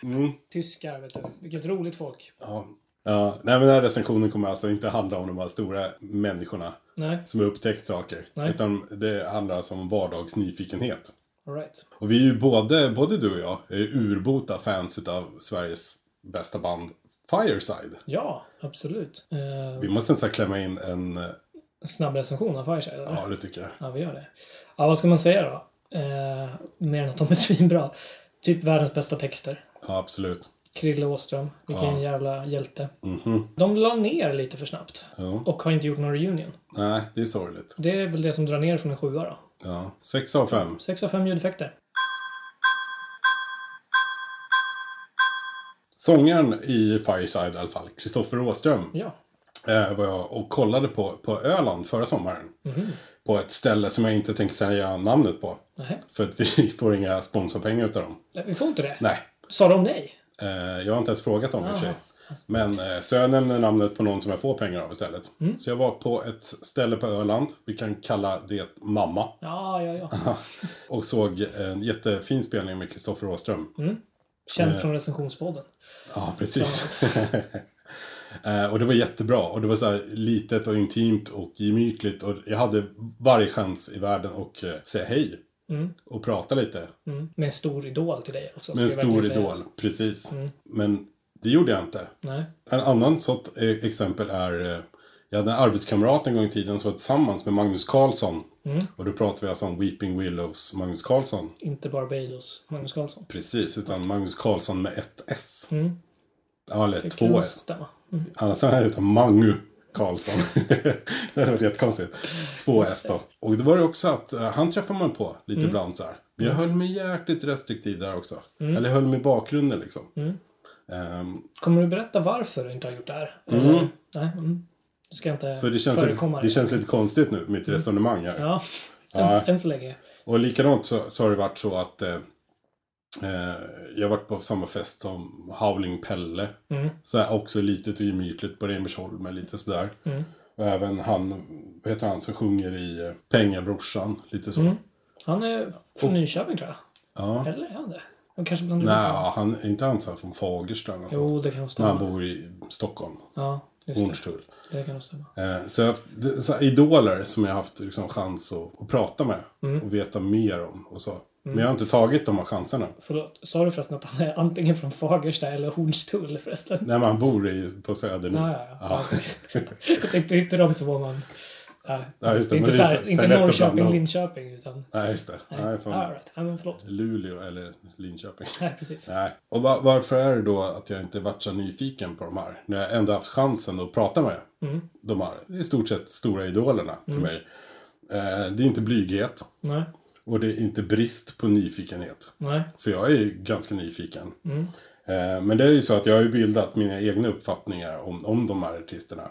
Mm. Tyskar, vet du. Vilket roligt folk. Ja. Ja, nej men den här recensionen kommer alltså inte handla om de här stora människorna Nej, som har upptäckt saker. Nej. Utan det handlar alltså om vardagsnyfikenhet. alright. Och vi är ju både, både du och jag är ju urbota fans utav Sveriges bästa band Fireside. Ja, absolut. Eh, Vi måste nästan klämma in en, eh, snabb recension av Fireside, eller? ja det tycker jag. Ja, vi gör det. Ja, vad ska man säga då? Eh, mer än att de är svinbra. Typ världens bästa texter. Ja, absolut. Krille Åström, vilken Ja. jävla hjälte. Mhm. De la ner lite för snabbt. Ja. Och har inte gjort någon reunion. Nej, det är sorgligt. Det är väl det som drar ner från en sjua då. Ja. Sex av fem. Sex av fem ljudeffekter. Sångaren i Fireside i alla fall, Kristoffer Åström, Ja. eh, var jag och kollade på, på Öland förra sommaren. På ett ställe som jag inte tänker säga namnet på. Nähä. För att vi får inga sponsorpengar utav dem. Nej, vi får inte det. Nej, Sa de nej? eh, jag har inte ens frågat dem i och för sig. Aha. Men eh, så jag nämner namnet på någon som jag får pengar av istället. Så jag var på ett ställe på Öland, vi kan kalla det Mamma. Ja, ja, ja. Och såg en jättefin spelning med Kristoffer Åström. Mm. Känd från recensionspodden. Ja, precis. Eh, och det var jättebra. Och det var så här litet och intimt och gemytligt. Och jag hade varje chans i världen att eh, säga hej. Och prata lite. Mm. Med en stor idol till dig alltså. Med en Mm. ska jag stor verkligen säga. Mm. idol. Precis. Men det gjorde jag inte. Nej. En annan sånt eh, exempel är... eh, Jag hade en arbetskamrat en gång i tiden som var tillsammans med Magnus Carlsson. Mm. Och då pratade vi alltså om Weeping Willows Magnus Carlsson. Inte Barbados, Magnus Karlsson. Precis, utan Magnus Carlsson med ett S. Mm. Ja, eller Det två kan S. stämma. Annars hade han hetat Mangu Karlsson. det hade varit jättekonstigt. Två S då. Och det var det också att eh, han träffar man på lite Mm. ibland så här. Men jag höll mig jäkligt restriktiv där också. Mm. Eller höll mig i bakgrunden liksom. Ehm, Kommer du berätta varför du inte har gjort det här? Eller? Nej. Mm. Du ska inte för det känns, förekomma Mm. lite, det känns lite konstigt nu, mitt resonemang här. Ja, Ja. än, än så länge. Och likadant så, så har det varit så att eh, eh, jag har varit på samma fest som Howling Pelle. Mm. Så här, också litet och gemytligt på Remersholm, lite sådär. Mm. Och även han, vad heter han som sjunger i eh, Pengabrorsan, lite Mm. så. Han är från Nyköping tror jag. Ja. Eller är han det? Han kanske blandar ihop dem. Nej, han är inte han så här från Fagersta eller något sånt? Jo, det kan nog När han stämma. bor i Stockholm, Ja, just det. Hornstull. Det kan nog stämma. Eh, så jag, det- så här, idoler som jag haft liksom, chans att, att prata med Mm. och veta mer om och så. Men jag har inte tagit de här chanserna. Förlåt, sa du förresten att han är antingen från Fagersta eller Hornstull förresten? Nej, men han bor i, på Söder nu. Ja, ja, ja. Jag tänkte inte de två man... Ja, Ja, just det, det är men inte, det så är här, så- så inte lätt att blanda Norrköping, ihop. Linköping utan... Nej, just det. Nej, Nej, fan. all right. ja, men förlåt. Luleå eller Linköping. Nej, precis. Nej. Och va- varför är det då att jag inte varit så nyfiken på de här? När jag ändå haft chansen att prata med Mm. de här i stort sett stora idolerna till mig. Eh, det är inte blyghet Nej, och det är inte brist på nyfikenhet. nej. För jag är ju ganska nyfiken. Eh, men det är ju så att jag har ju bildat mina egna uppfattningar om, om de här artisterna.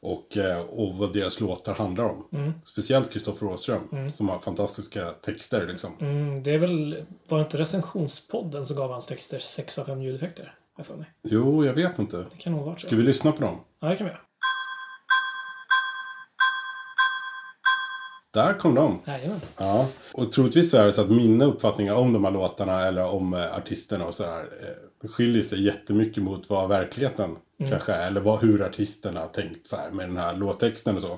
Och, eh, och vad deras låtar handlar om. Speciellt Kristoffer Åström som har fantastiska texter liksom. Mm, det är väl... Var det inte recensionspodden som gav hans texter 6 av 5 ljudeffekter? Har jag för mig. Jo, jag vet inte. Det kan nog ha varit så. Ska vi lyssna på dem? Ja, det kan vi göra. Där kom de. Jajamän. Ja. Och troligtvis så är det så att mina uppfattningar om de här låtarna eller om eh, artisterna och sådär eh, Det skiljer sig jättemycket mot vad verkligheten kanske är. Eller vad, hur artisterna har tänkt så här, med den här låttexten och så.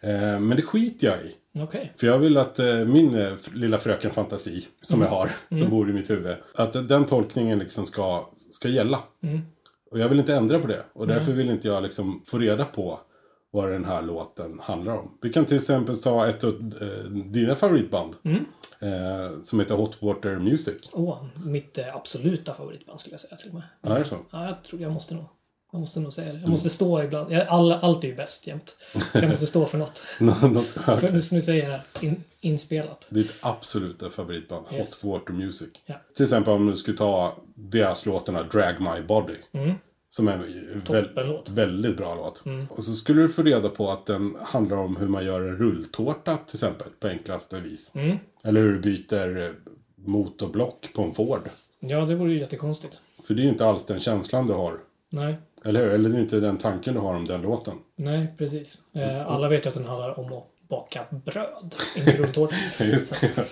Eh, men det skiter jag i. mm, Okej. För jag vill att eh, min eh, f- lilla fröken fantasi som Mm. jag har, som bor i mitt huvud, att eh, den tolkningen liksom ska, ska gälla. Mm. Och jag vill inte ändra på det. Och därför vill inte jag liksom få reda på vad den här låten handlar om. Vi kan till exempel ta ett av eh, dina favoritband. Mm. Eh, som heter Hot Water Music. Åh, mitt eh, absoluta favoritband skulle jag säga till och med. Ja, det är så. Ja, jag tror jag måste nog. Jag måste nog säga det. Jag Mm. måste stå ibland. Jag, all, allt är ju bäst jämt. Så jag måste stå för något. Nå- Något skönt. För, som du säger här, in, inspelat. Ditt absoluta favoritband, Yes. Hot Water Music. Ja. Till exempel om du skulle ta deras låtarna Drag My Body. Som är en väl, Mm, Toppenlåt. väldigt bra låt. Och så skulle du få reda på att den handlar om hur man gör en rulltårta till exempel. På enklaste vis. Eller hur du byter eh, motorblock på en Ford. Ja, det vore ju jättekonstigt. För det är ju inte alls den känslan du har. Nej, Eller hur? Eller det är inte den tanken du har om den låten. nej precis. Mm. Eh, alla vet ju att den handlar om att baka bröd, inte rulltårta. Just det.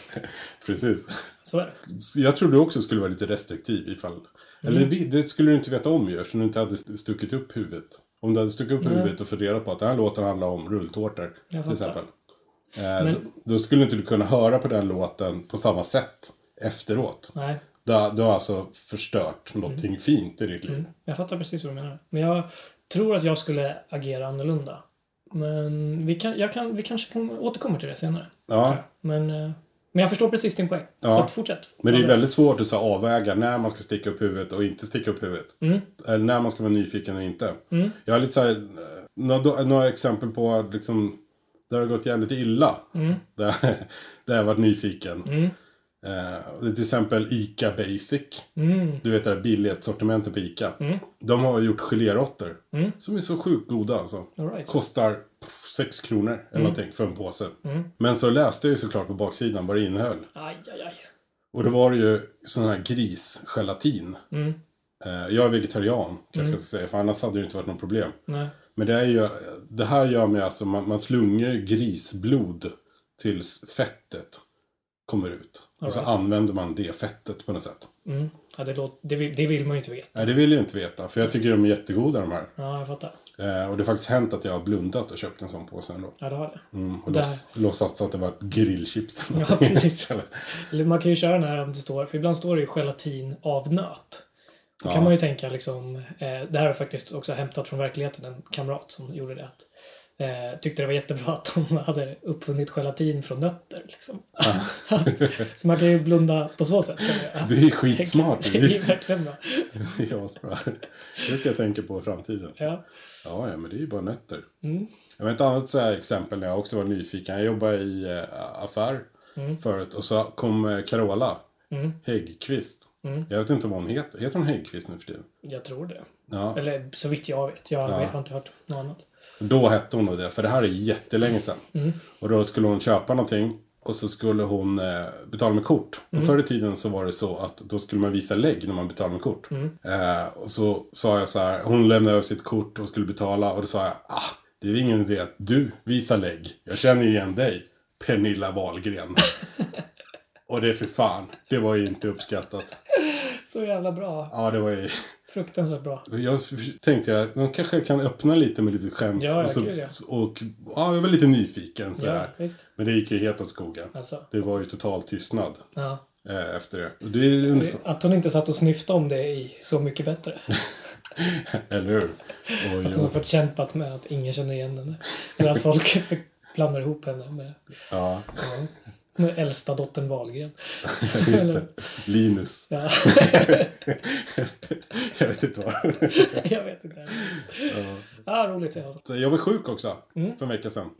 Precis. Så är det. Så jag tror du också skulle vara lite restriktiv ifall... Eller vi- det skulle du inte veta om ju eftersom du inte hade st- stuckit upp huvudet. Om du hade stuckit upp huvudet och fått reda på att den här låten handlar om rulltårtor. Till fattar. exempel. Eh, då, då skulle inte du kunna höra på den låten på samma sätt efteråt. Nej, Du, har- du har alltså förstört någonting fint i ditt liv. jag fattar precis vad du menar. Men jag tror att jag skulle agera annorlunda. Men vi, kan, jag kan, vi kanske kan återkommer till det senare. Ja. Men, eh, men jag förstår precis din poäng. Så Ja. att fortsätt. Men det är Ja, väldigt svårt att så här avväga när man ska sticka upp huvudet och inte sticka upp huvudet. Eller när man ska vara nyfiken och inte. Jag har lite så här, eh, några, några exempel på liksom, där det har gått jävligt illa. Där, där jag har varit nyfiken. Eh, och det är till exempel ICA Basic. Mm, Du vet det här billighetssortimentet på ICA. De har gjort geléråttor. Som är så sjukt goda alltså. All right. Kostar 6 kronor eller någonting för en påse. Men så läste jag ju såklart på baksidan vad det innehöll. Aj, aj, aj. Och det var ju sån här grisgelatin. Mm, Eh, Jag är vegetarian, kanske jag ska säga, för annars hade det inte varit något problem. Nej. Men det, är ju, det här gör mig alltså, man, man slungar ju grisblod tills fettet kommer ut. Och så använder man det fettet på något sätt. Mm. Ja, det, låt, det, vill, det vill man ju inte veta. Nej, det vill jag inte veta, för jag tycker de är jättegoda de här. Ja, jag fattar. Eh, och det har faktiskt hänt att jag har blundat och köpt en sån påse ändå. Ja, det har det. Mm, och Där. låts- låtsats att det var grillchips. eller Ja, någonting. precis. Eller man kan ju köra den här om det står, för ibland står det ju gelatin av nöt. Då Ja. kan man ju tänka liksom, eh, det här är faktiskt också hämtat från verkligheten, en kamrat som gjorde det. Att, eh, tyckte det var jättebra att de hade uppfunnit gelatin från nötter. Liksom. att, så man kan ju blunda på så sätt. Kan man göra. Det är skitsmart. Det är ju verkligen bra. Det är asbra. Det ska jag tänka på i framtiden. Ja. Ja, ja men det är ju bara nötter. Jag vet ett annat så här exempel när jag också var nyfiken. Jag jobbade i eh, affär förut och så kom eh, Carola Häggqvist. Jag vet inte vad hon heter. Heter hon Häggqvist nu för tiden? Jag tror det. Ja, Eller så vitt jag vet. Jag har inte hört något annat. då hette hon nog det. För det här är jättelänge sedan. Och då skulle hon köpa någonting och så skulle hon eh, betala med kort. Och förr i tiden så var det så att då skulle man visa lägg när man betalade med kort. Eh, och så sa jag så här, hon lämnade över sitt kort och skulle betala och då sa jag, ah, det är ingen idé att du visar lägg. Jag känner ju igen dig, Pernilla Wahlgren. och det är för fan, det var ju inte uppskattat. Så jävla bra. Ja, det var ju... Fruktansvärt bra. Jag f- tänkte jag, de kanske kan öppna lite med lite skämt. Ja, ja, och, så, gud, ja. och ja, jag var lite nyfiken så Ja, här. visst. Men det gick ju helt åt skogen. Alltså, Det var ju total tystnad ja. eh, efter det. Och det är ju ungefär, Att hon inte satt och snyftade om det i Så mycket bättre. eller hur? Oj, Att hon har oj. fått kämpat med att ingen känner igen henne. Eller att folk blandar ihop henne med Ja, ja, med äldsta dottern Wahlgren. just det. Linus. Ja, Jag vet inte vad. jag vet inte. Ja, roligt i alla fall. Så eh, Jag var sjuk också Mm. för en vecka sedan.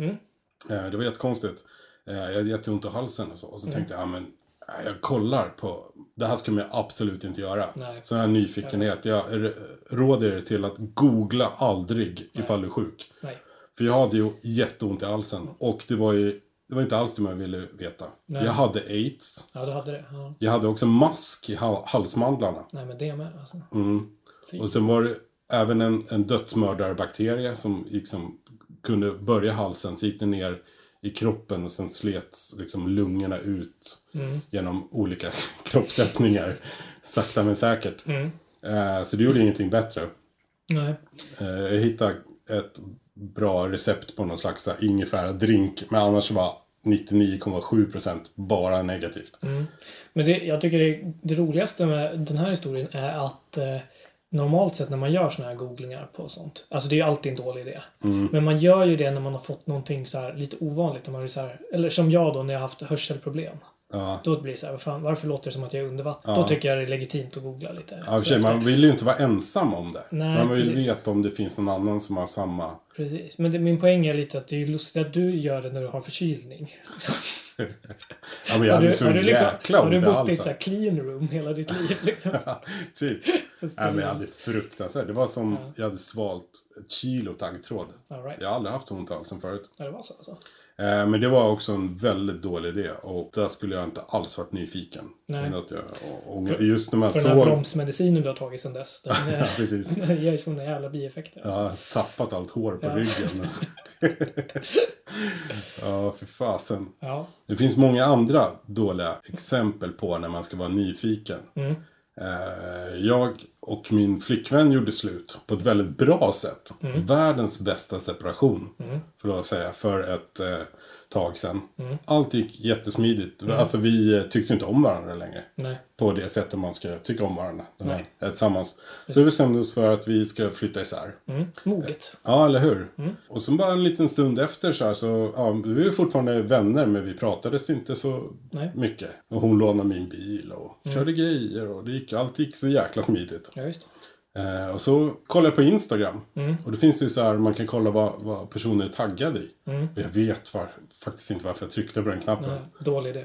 Eh, Det var jättekonstigt. Eh, Jag hade jätteont i halsen och så. Och så Mm. tänkte jag, ja, men eh, jag kollar på... Det här ska man ju absolut inte göra. Nej. Sån här nyfikenhet. Jag r- råder er till att googla aldrig ifall du är sjuk. Nej. För jag hade ju jätteont i halsen. Och det var ju... Det var inte alls det man ville veta. Nej. Jag hade aids. Ja, du hade det. Ja. Jag hade också mask i hal- halsmandlarna. Nej, men det med alltså. Mm. Fy. Och sen var det även en, en dödsmördarbakterie som liksom kunde börja i halsen, så gick det ner i kroppen och sen slets liksom lungorna Mm. Mm. ut genom olika kroppsöppningar. Sakta men säkert. Eh, så det gjorde ingenting bättre. Nej. Eh, jag hittade ett bra recept på någon slags så här ingefära-drink. Men annars var 99,7% bara negativt. Mm. Men det, jag tycker det, det roligaste med den här historien är att eh, normalt sett när man gör såna här googlingar på sånt, alltså det är ju alltid en dålig idé. Mm. Men man gör ju det när man har fått någonting så här lite ovanligt, när man är så här, eller som jag då när jag har haft hörselproblem. Ja. Då blir det så här, vad fan, varför låter det som att jag är under vatten? Ja. Då tycker jag det är legitimt att googla lite. Ja, i och för Så sig, efter- man vill ju inte vara ensam om det. Nej, man vill precis. veta om det finns någon annan som har samma... Precis, men det, min poäng är lite att det är ju lustigt att du gör det när du har förkylning. Ja, men jag hade så har du, liksom, jäkla har ont i du bott i halsen. ett så här clean room hela ditt liv? Liksom. typ. Så Nej, men jag ställer- hade fruktansvärt. Det var som jag hade svalt ett kilo taggtråd. All right. Jag har aldrig haft så ont i halsen förut. Ja, det var så alltså. Eh, men det var också en väldigt dålig idé. Och där skulle jag inte alls varit nyfiken. Nej. Men Att jag, och, och, just när man För den här såg... bromsmedicinen du har tagit sedan dess, den, Ja, eh, precis. den ger ju såna jävla bieffekter. Jag Alltså. har tappat allt hår på Ja. ryggen. ja, för fasen. Ja. Det finns många andra dåliga exempel på när man ska vara nyfiken. Eh, Jag och min flickvän gjorde slut på ett väldigt bra sätt. Världens bästa separation, för att säga, för ett eh, tag sedan. Allt gick jättesmidigt. Alltså vi eh, tyckte inte om varandra längre Nej. på det sättet man ska tycka om varandra när man är tillsammans. Så vi bestämde oss för att vi ska flytta isär. Mm. Moget. Ja, eller hur? Och sen bara en liten stund efter så här så, ja, vi var ju fortfarande vänner men vi pratades inte så Nej. mycket. Och hon lånade min bil och körde grejer och det gick, allt gick så jäkla smidigt. Ja, Mm, visst. Eh, och så kollade jag på Instagram. Och då finns det ju så här, man kan kolla vad, vad personer är taggade i. Och jag vet var, faktiskt inte varför jag tryckte på den knappen. mm. Nej. Mm. Dålig idé.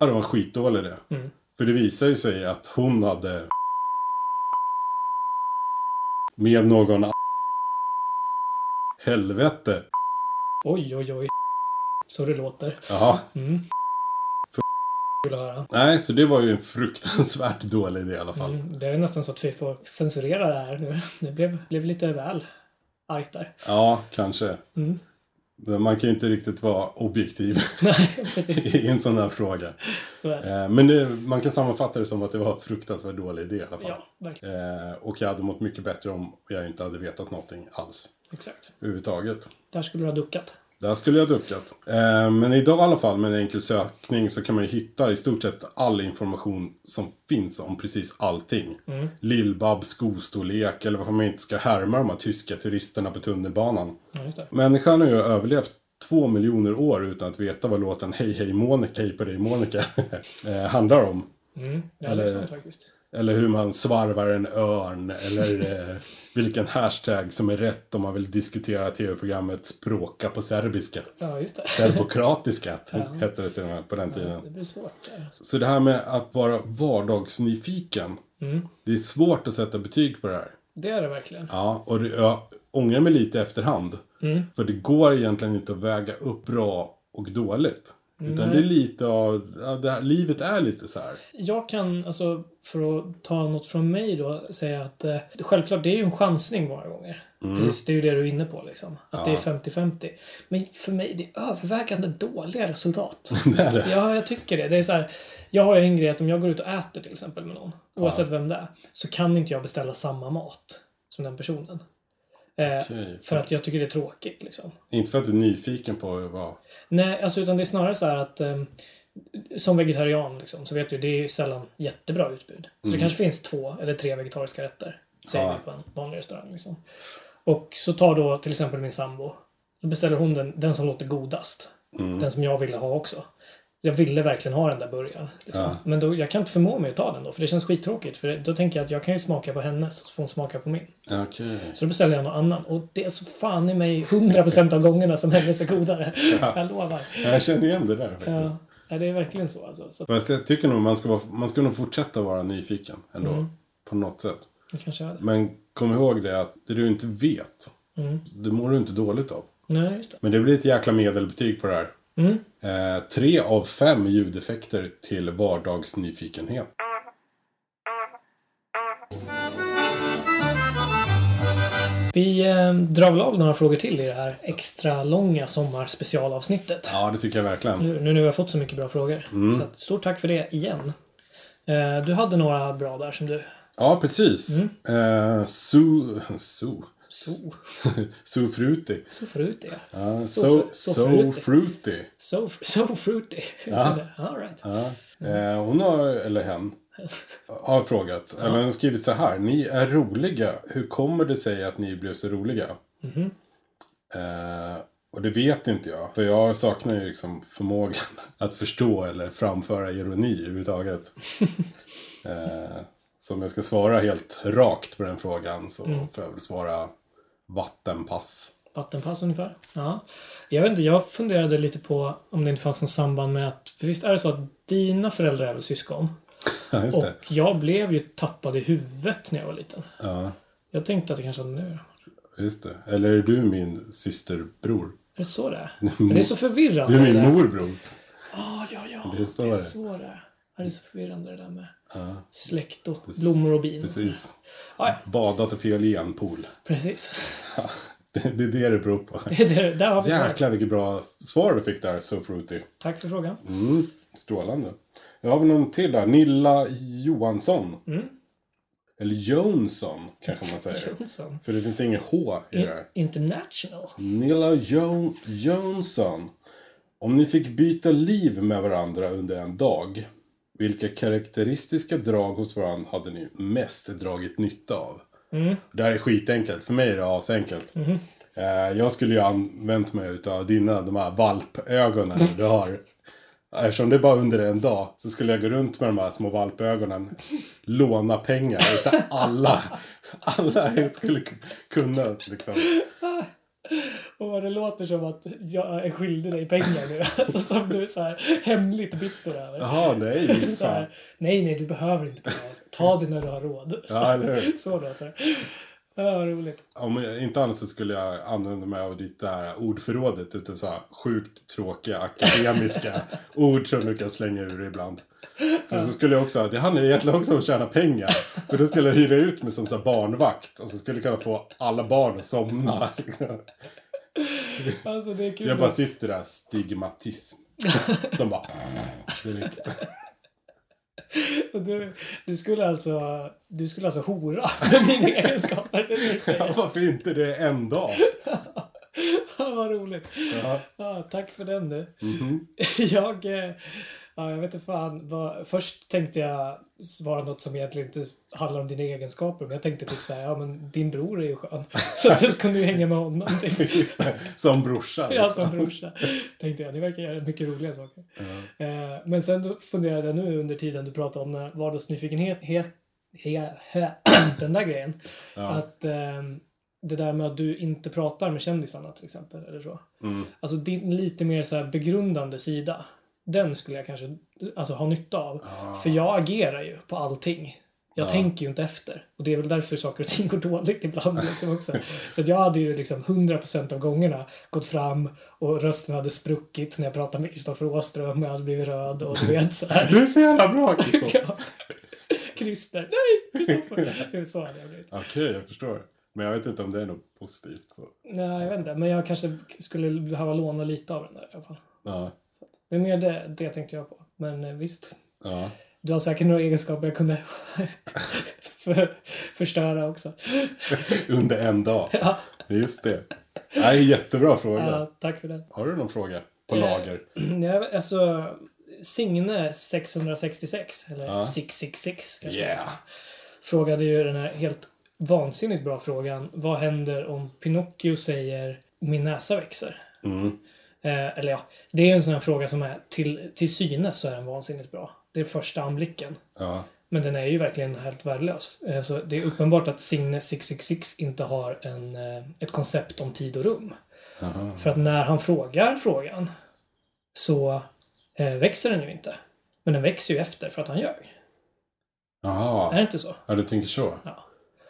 Ja, det var en skitdålig idé. För det visar ju sig att hon hade med någon a- Helvete. Oj, oj, oj. Så det låter. Mm. Jaha. Kul att höra. Nej, så det var ju en fruktansvärt dålig idé i alla fall. Mm. Det är nästan så att vi får censurera det här nu. Det blev, blev lite väl argt där. Ja, kanske. Mm. Men man kan ju inte riktigt vara objektiv Nej, precis. i en sån här fråga. Så är det. Eh, Men det, man kan sammanfatta det som att det var en fruktansvärt dålig idé i alla fall. Ja, verkligen. Eh, Och jag hade mått mycket bättre om jag inte hade vetat någonting alls. Exakt. Överhuvudtaget. Där skulle du ha duckat. Där skulle jag duckat. Eh, men idag i alla fall med en enkel sökning så kan man ju hitta i stort sett all information som finns om precis allting. Mm. Lillbab, skostorlek eller varför man inte ska härma de här tyska turisterna på tunnelbanan. Ja, just det. Människan har ju överlevt två miljoner år utan att veta vad låten Hej hej Monica, hej på dig Monica eh, handlar om. Det är Eller- liksom faktiskt. Eller hur man svarvar en örn. Eller eh, vilken hashtag som är rätt om man vill diskutera tv-programmet Språka på serbiska. Ja, just det. Serbokratiska hette det till och med på den Det tiden. blir svårt. där, alltså. Så det här med att vara vardagsnyfiken. Det är svårt att sätta betyg på det här. Det är det verkligen. Ja, och det, jag ångrar mig lite i efterhand. För det går egentligen inte att väga upp bra och dåligt. Utan det är lite av, ja, det här, livet är lite så här. Jag kan, alltså, för att ta något från mig då, säga att eh, självklart, det är ju en chansning många gånger. Mm. Precis, det är ju det du är inne på liksom. Att det är 50-50. Men för mig, det är övervägande dåliga resultat. Det är det. ja, jag tycker det. Det är så här, jag har ju en grej att om jag går ut och äter till exempel med någon, oavsett vem det är, så kan inte jag beställa samma mat som den personen. Eh, Okej. För att jag tycker det är tråkigt liksom. Inte för att du är nyfiken på vad... Nej, alltså utan det är snarare så här att eh, som vegetarian liksom, så vet du, det är ju sällan jättebra utbud. Så det kanske finns två eller tre vegetariska rätter, säger Mm. Ja. vi på en vanlig restaurang. Liksom. Och så tar då till exempel min sambo, då beställer hon den, den som låter godast. Mm. Den som jag ville ha också. Jag ville verkligen ha den där burgaren. Liksom. Ja. Men då, jag kan inte förmå mig att ta den då, för det känns skittråkigt. För det, då tänker jag att jag kan ju smaka på hennes, så får hon smaka på min. Okej. Så då beställer jag någon annan. Och det är så fan i mig 100% av gångerna som hennes är godare. Jag lovar. Jag känner igen det där faktiskt. Ja, ja, det är verkligen så alltså. Så att Fast jag tycker nog man ska, vara, man ska nog fortsätta vara nyfiken ändå. På något sätt. det kanske är det. Men kom ihåg det att det du inte vet, det mår du inte dåligt av. Nej, just det. Men det blir ett jäkla medelbetyg på det här. Eh, tre av fem ljudeffekter till vardagsnyfikenhet. Vi eh, drar väl av några frågor till i det här extra långa sommarspecialavsnittet. Ja, Mm. det tycker jag verkligen. Nu, nu när vi har fått så mycket bra frågor. Så att, stort tack för det igen. Eh, du hade några bra där som du Ja, precis. Mm. Eh, Su... Su... So, Su Fruity. so fruity. ja. Ja, so, So- so, so fruity. fruity. So, so fruity. All right. Ja. Eh, hon har, eller hen, har frågat, eller hon har skrivit så här. Ni är roliga. Hur kommer det sig att ni blev så roliga? Eh, och det vet inte jag. För jag saknar ju liksom förmågan att förstå eller framföra ironi överhuvudtaget. eh, så om jag ska svara helt rakt på den frågan så får jag väl svara vattenpass. Vattenpass ungefär. Ja. Jag vet inte, jag funderade lite på om det inte fanns något samband med att, för visst är det så att dina föräldrar är väl syskon? Ja, just det. Och jag blev ju tappad i huvudet när jag var liten. Ja, Jag tänkte att det kanske hade nu. Är just det. Eller är du min systerbror? det så det är? Men Det är så förvirrande. Du är det min där. morbror. Ja, ja, ja. Det är så det är. det är. Så det är. Ja, det är så förvirrande det där med Ja, släkt och blommor och bin. precis. Ja, ja, Badat och fiolinpool. precis. Det det är det det beror på. Det är det, där har vi svaret. Jäklar vilket bra svar du fick där, So Fruity. Tack för frågan. Mm, strålande. Jag har väl någon till där. Nilla Johansson. Mm. Eller Johnson kanske man säger. Jönsson. För det finns inget H i det här. International. Nilla jo- Johnson. Om ni fick byta liv med varandra under en dag, vilka karaktäristiska drag hos varandra hade ni mest dragit nytta av? Det här är skitenkelt. För mig är det asenkelt. Eh, Jag skulle ju ha använt mig utav dina, de här valpögonen du har. Eftersom det är bara under en dag så skulle jag gå runt med de här små valpögonen. Låna pengar utav alla. Alla jag skulle k- kunna liksom. Och vad det låter som att jag är skyldig dig pengar nu. Alltså som du är så här hemligt bitter över. Jaha, nej. Så fan. här, nej, nej, du behöver inte pengar. Ta det när du har råd. Så, Ja, eller hur? så låter det. Ja, vad roligt. Om jag, inte annat så skulle jag använda mig av ditt där ordförrådet utav så här sjukt tråkiga akademiska ord som du kan slänga ur ibland. För så skulle jag också, det handlar ju egentligen också om att tjäna pengar. För då skulle jag hyra ut mig som så här barnvakt och så skulle jag kunna få alla barn att somna. Liksom. Alltså det är kul. Jag bara sitter där, stigmatism. De bara... "Ah, Direkt. Och Du, du, skulle alltså, du skulle alltså hora med mina egenskaper. Det är det du Ja, säger. varför inte det en dag? Ja, Vad roligt. Ja. Ja, tack för den du. Mm-hmm. Jag, eh, ja, jag vet inte fan. Vad, först tänkte jag svara något som egentligen inte handlar om dina egenskaper. Men jag tänkte typ så här, ja men din bror är ju skön. Så att jag kunde ju hänga med honom. Typ. Som brorsa. Ja, som brorsa. Tänkte jag, ni verkar göra mycket roliga saker. Eh, men sen då funderade jag nu under tiden du pratade om när vardagsnyfikenhet, he, he, he, den där grejen. Att ehm, det där med att du inte pratar med kändisarna till exempel, eller så. Mm. Alltså din lite mer så här begrundande sida. Den skulle jag kanske alltså, ha nytta av. För jag agerar ju på allting. Jag tänker ju inte efter. Och det är väl därför saker och ting går dåligt ibland liksom också. Så att jag hade ju liksom 100% av gångerna gått fram och rösten hade spruckit när jag pratade med Kristoffer Åström och jag hade blivit röd och du vet så här. Du är så jävla bra, Kristoffer. Ja. Christer. Nej, Kristoffer. Det är Så hade jag blivit. Okej, jag förstår. Men jag vet inte om det är något positivt. Så. Nej, jag vet inte. Men jag kanske skulle behöva låna lite av den där i alla fall. Ja, Det är mer det, det tänkte jag på. Men eh, visst. ja. Du har säkert några egenskaper jag kunde för, förstöra också. Under en dag. Ja. Just det. Nej, jättebra fråga. Ja, tack för den. Har du någon fråga på Eh, lager? Nej, alltså, Signe 666, eller Ja. 666 kanske man Yeah. säger, frågade ju den här helt vansinnigt bra frågan. Vad händer om Pinocchio säger min näsa växer? Mm. Eh, eller ja, det är ju en sån här fråga som är till, till synes så är den vansinnigt bra. Det är första anblicken. Ja. Men den är ju verkligen helt värdelös. Eh, Så det är uppenbart att Signe 666 inte har en, eh, ett koncept om tid och rum. Aha. För att när han frågar frågan så eh, växer den ju inte. Men den växer ju efter för att han ljög. Är Jaha. det inte så? Ja, du tänker så. Ja.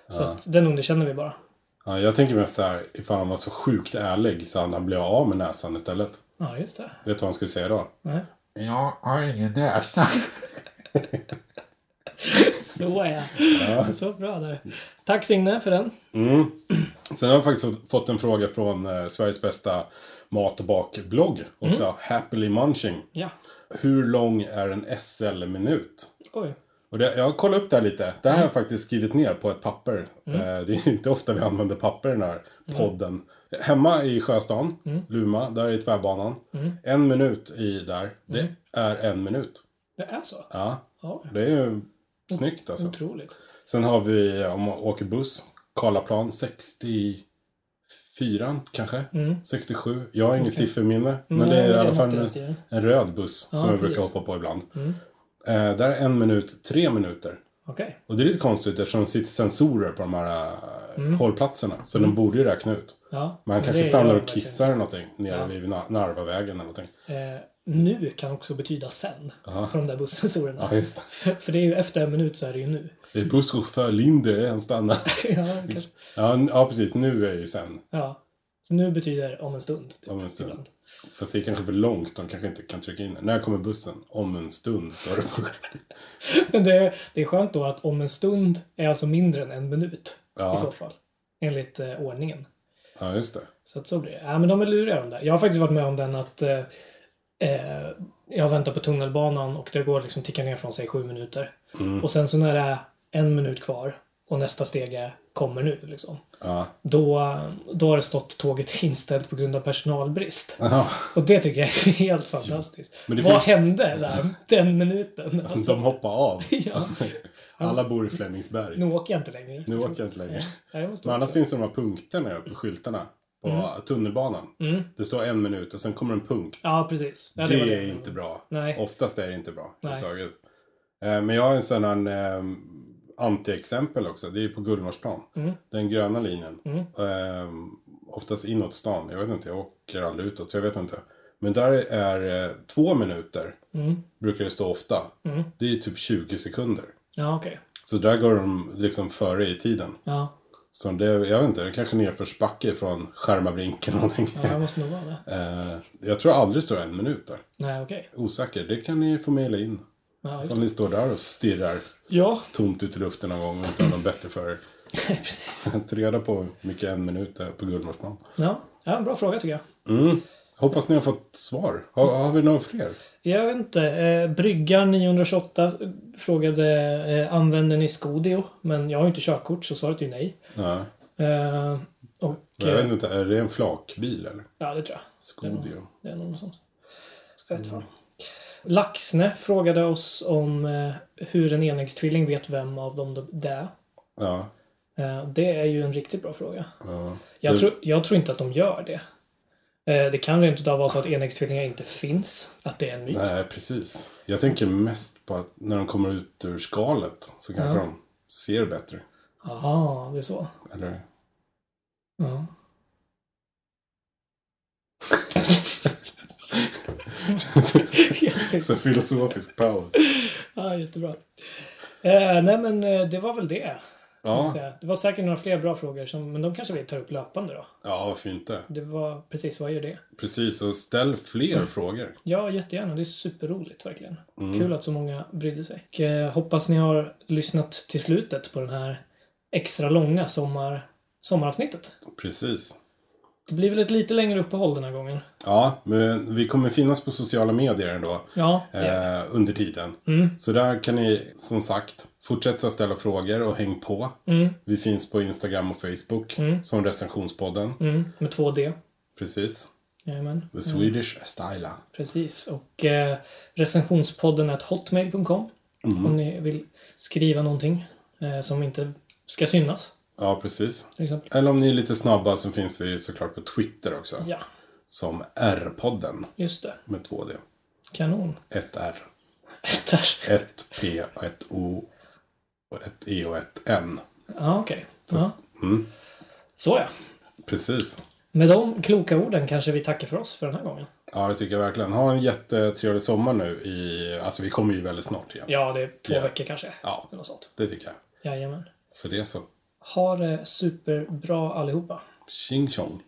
Så att den underkänner vi bara. Ja, jag tänker mest så här, ifall han var så sjukt ärlig så han han blev av med näsan istället. Ja, just det. Vet du vad han skulle säga då? Nej. Jag har ingen näsa. Så är jag. Så bra där. Tack Signe för den. Mm. Sen har jag faktiskt fått en fråga från eh, Sveriges bästa mat och bakblogg också. Happily Munching. Ja. Hur lång är en SL-minut? Oj. Och det, jag kollade upp det här lite. Det här har jag faktiskt skrivit ner på ett papper. Eh, det är inte ofta vi använder papper i den här podden. Hemma i Sjöstan, Luma, där är tvärbanan. En minut i där, det är en minut. Det är så? Ja, Ja, det är ju snyggt Mm. alltså. otroligt. Sen har vi, om man åker buss, Karlaplan 64 kanske? Mm. 67. Jag har inget sifferminne. Men Nej, det är i det alla är fall något i den en, stilen. en röd buss Ja, som jag precis. Mm. brukar hoppa på ibland. Eh, där är en minut, tre minuter. Okej. Och det är lite konstigt eftersom det sitter sensorer på de här eh, hållplatserna. Så de borde ju räkna ut. Mm. Ja, Man men kanske det stannar gör och de kissar eller någonting nere Ja. vid Nar- Narvavägen eller någonting. verkligen. Eh, nu kan också betyda sen. Ja. På de där bussensorerna. Ja, just det. För det är ju efter en minut så är det ju nu. Det är busschaufför Linde, han stannar. ja, kanske. Ja, n- ja, precis. Nu är ju sen. ja. Så nu betyder om en stund. Typ, Om en stund. ibland. Fast det är kanske för långt, de kanske inte kan trycka in det. När kommer bussen? Om en stund, står det på Men det, det är skönt då att om en stund är alltså mindre än en minut. I så Ja, fall. Enligt eh, ordningen. ja just det. Så att så blir det. Ja, men de är luriga de där. Jag har faktiskt varit med om den att eh, eh, jag väntar på tunnelbanan och det går liksom tickar ner från sig sju minuter. Mm. Och sen så när det är en minut kvar och nästa steg är kommer nu liksom. Ja. Då, då har det stått tåget inställt på grund av personalbrist. Jaha, Och det tycker jag är helt fantastiskt. Men det Vad finns- hände där den minuten? Alltså, de hoppar av. ja. Alla bor i Flemingsberg. Nu åker jag inte längre. Nu åker jag inte längre. Nej, jag måste Men annars åka. finns det de här punkterna på skyltarna. På Mm. tunnelbanan. Det står en minut och sen kommer en punkt. Ja, precis. Ja, det, var är inte bra. Nej. Oftast är det inte bra. Nej. överhuvudtaget. Eh, Men jag har en sån här eh, antiexempel också. Det är på Gullmarsplan. Mm. Den gröna linjen. Eh, Oftast inåt stan. Jag vet inte, jag åker aldrig utåt så jag vet inte. Men där är eh, två minuter. Mm. Brukar det stå ofta. Det är typ 20 sekunder. Ja, okej. Så där går de liksom före i tiden. Ja. Så det, jag vet inte, det är kanske nedförsbacke från Skärmabrinken eller någonting. ja, jag måste nog vara det. Eh, jag tror aldrig står en minut där. Nej, okej. Osäker, det kan ni få mejla in. Ja, just Om ni står där och stirrar Ja, tomt ut i luften någon gång och inte har någon bättre för er. precis. Ta reda på hur mycket en minut är på Gullmarsplan. Ja, ja, en bra fråga tycker jag. Hoppas ni har fått svar. Har, har vi några fler? Jag vet inte. Eh, Bryggar 928 frågade eh, använder ni Scodio? Men jag har ju inte körkort så svaret är ju nej. Nej. Eh, och... Jag vet Eh, inte, är det en flakbil eller? ja, det tror jag. Skodio. Det är något sånt. Jag vet fan. Mm. Laxne frågade oss om eh, hur en enäggstvilling vet vem av dem det är. Ja. Eh, det är ju en riktigt bra fråga. ja. Jag, Det- tror, jag tror inte att de gör det. Eh, det kan rent utav vara så att enäggstvillingar inte finns. Att det är en myt. Nej, precis. Jag tänker mest på att när de kommer ut ur skalet så kanske Ja. de ser bättre. Jaha, det är så. Eller? Ja. Jätte- Så filosofisk paus. ja, jättebra. Eh, nej, men eh, det var väl det. kan jag Ja, säga. Det var säkert några fler bra frågor, som, men de kanske vi tar upp löpande då. ja varför inte? Det var precis, vad gör det? Precis, och ställ fler frågor. Mm, Ja, jättegärna. Det är superroligt verkligen. Kul att så många brydde sig. Och, eh, hoppas ni har lyssnat till slutet på den här extra långa sommar, sommaravsnittet. Precis. Det blir väl ett lite längre uppehåll den här gången. Ja, men vi kommer finnas på sociala medier ändå Ja, Mm. det gör vi. eh, under tiden. Så där kan ni som sagt fortsätta ställa frågor och häng på. Mm, Vi finns på Instagram och Facebook som recensionspodden. mm, med 2D. Precis. Jajamän. The Swedish Styla. Precis, och eh, recensionspodden är hotmail.com Mm. om ni vill skriva någonting eh, som inte ska synas. Ja, precis. Till exempel. Eller om ni är lite snabba så finns vi såklart på Twitter också. Ja, Som R-podden just det. med 2D. Kanon. 1R. Där. 1P, 1O, 1E och 1N. Ja, okej. Ja. Mm. Så ja. Precis. Med de kloka orden kanske vi tackar för oss för den här gången. Ja, det tycker jag verkligen. Ha en jättetrevlig sommar nu i... Alltså, vi kommer ju väldigt snart igen. Ja, det är två Ja. veckor kanske. Ja. Eller något sånt. Det tycker jag. Jajamän. Så det är så. Ha det superbra allihopa. Tjing tjong.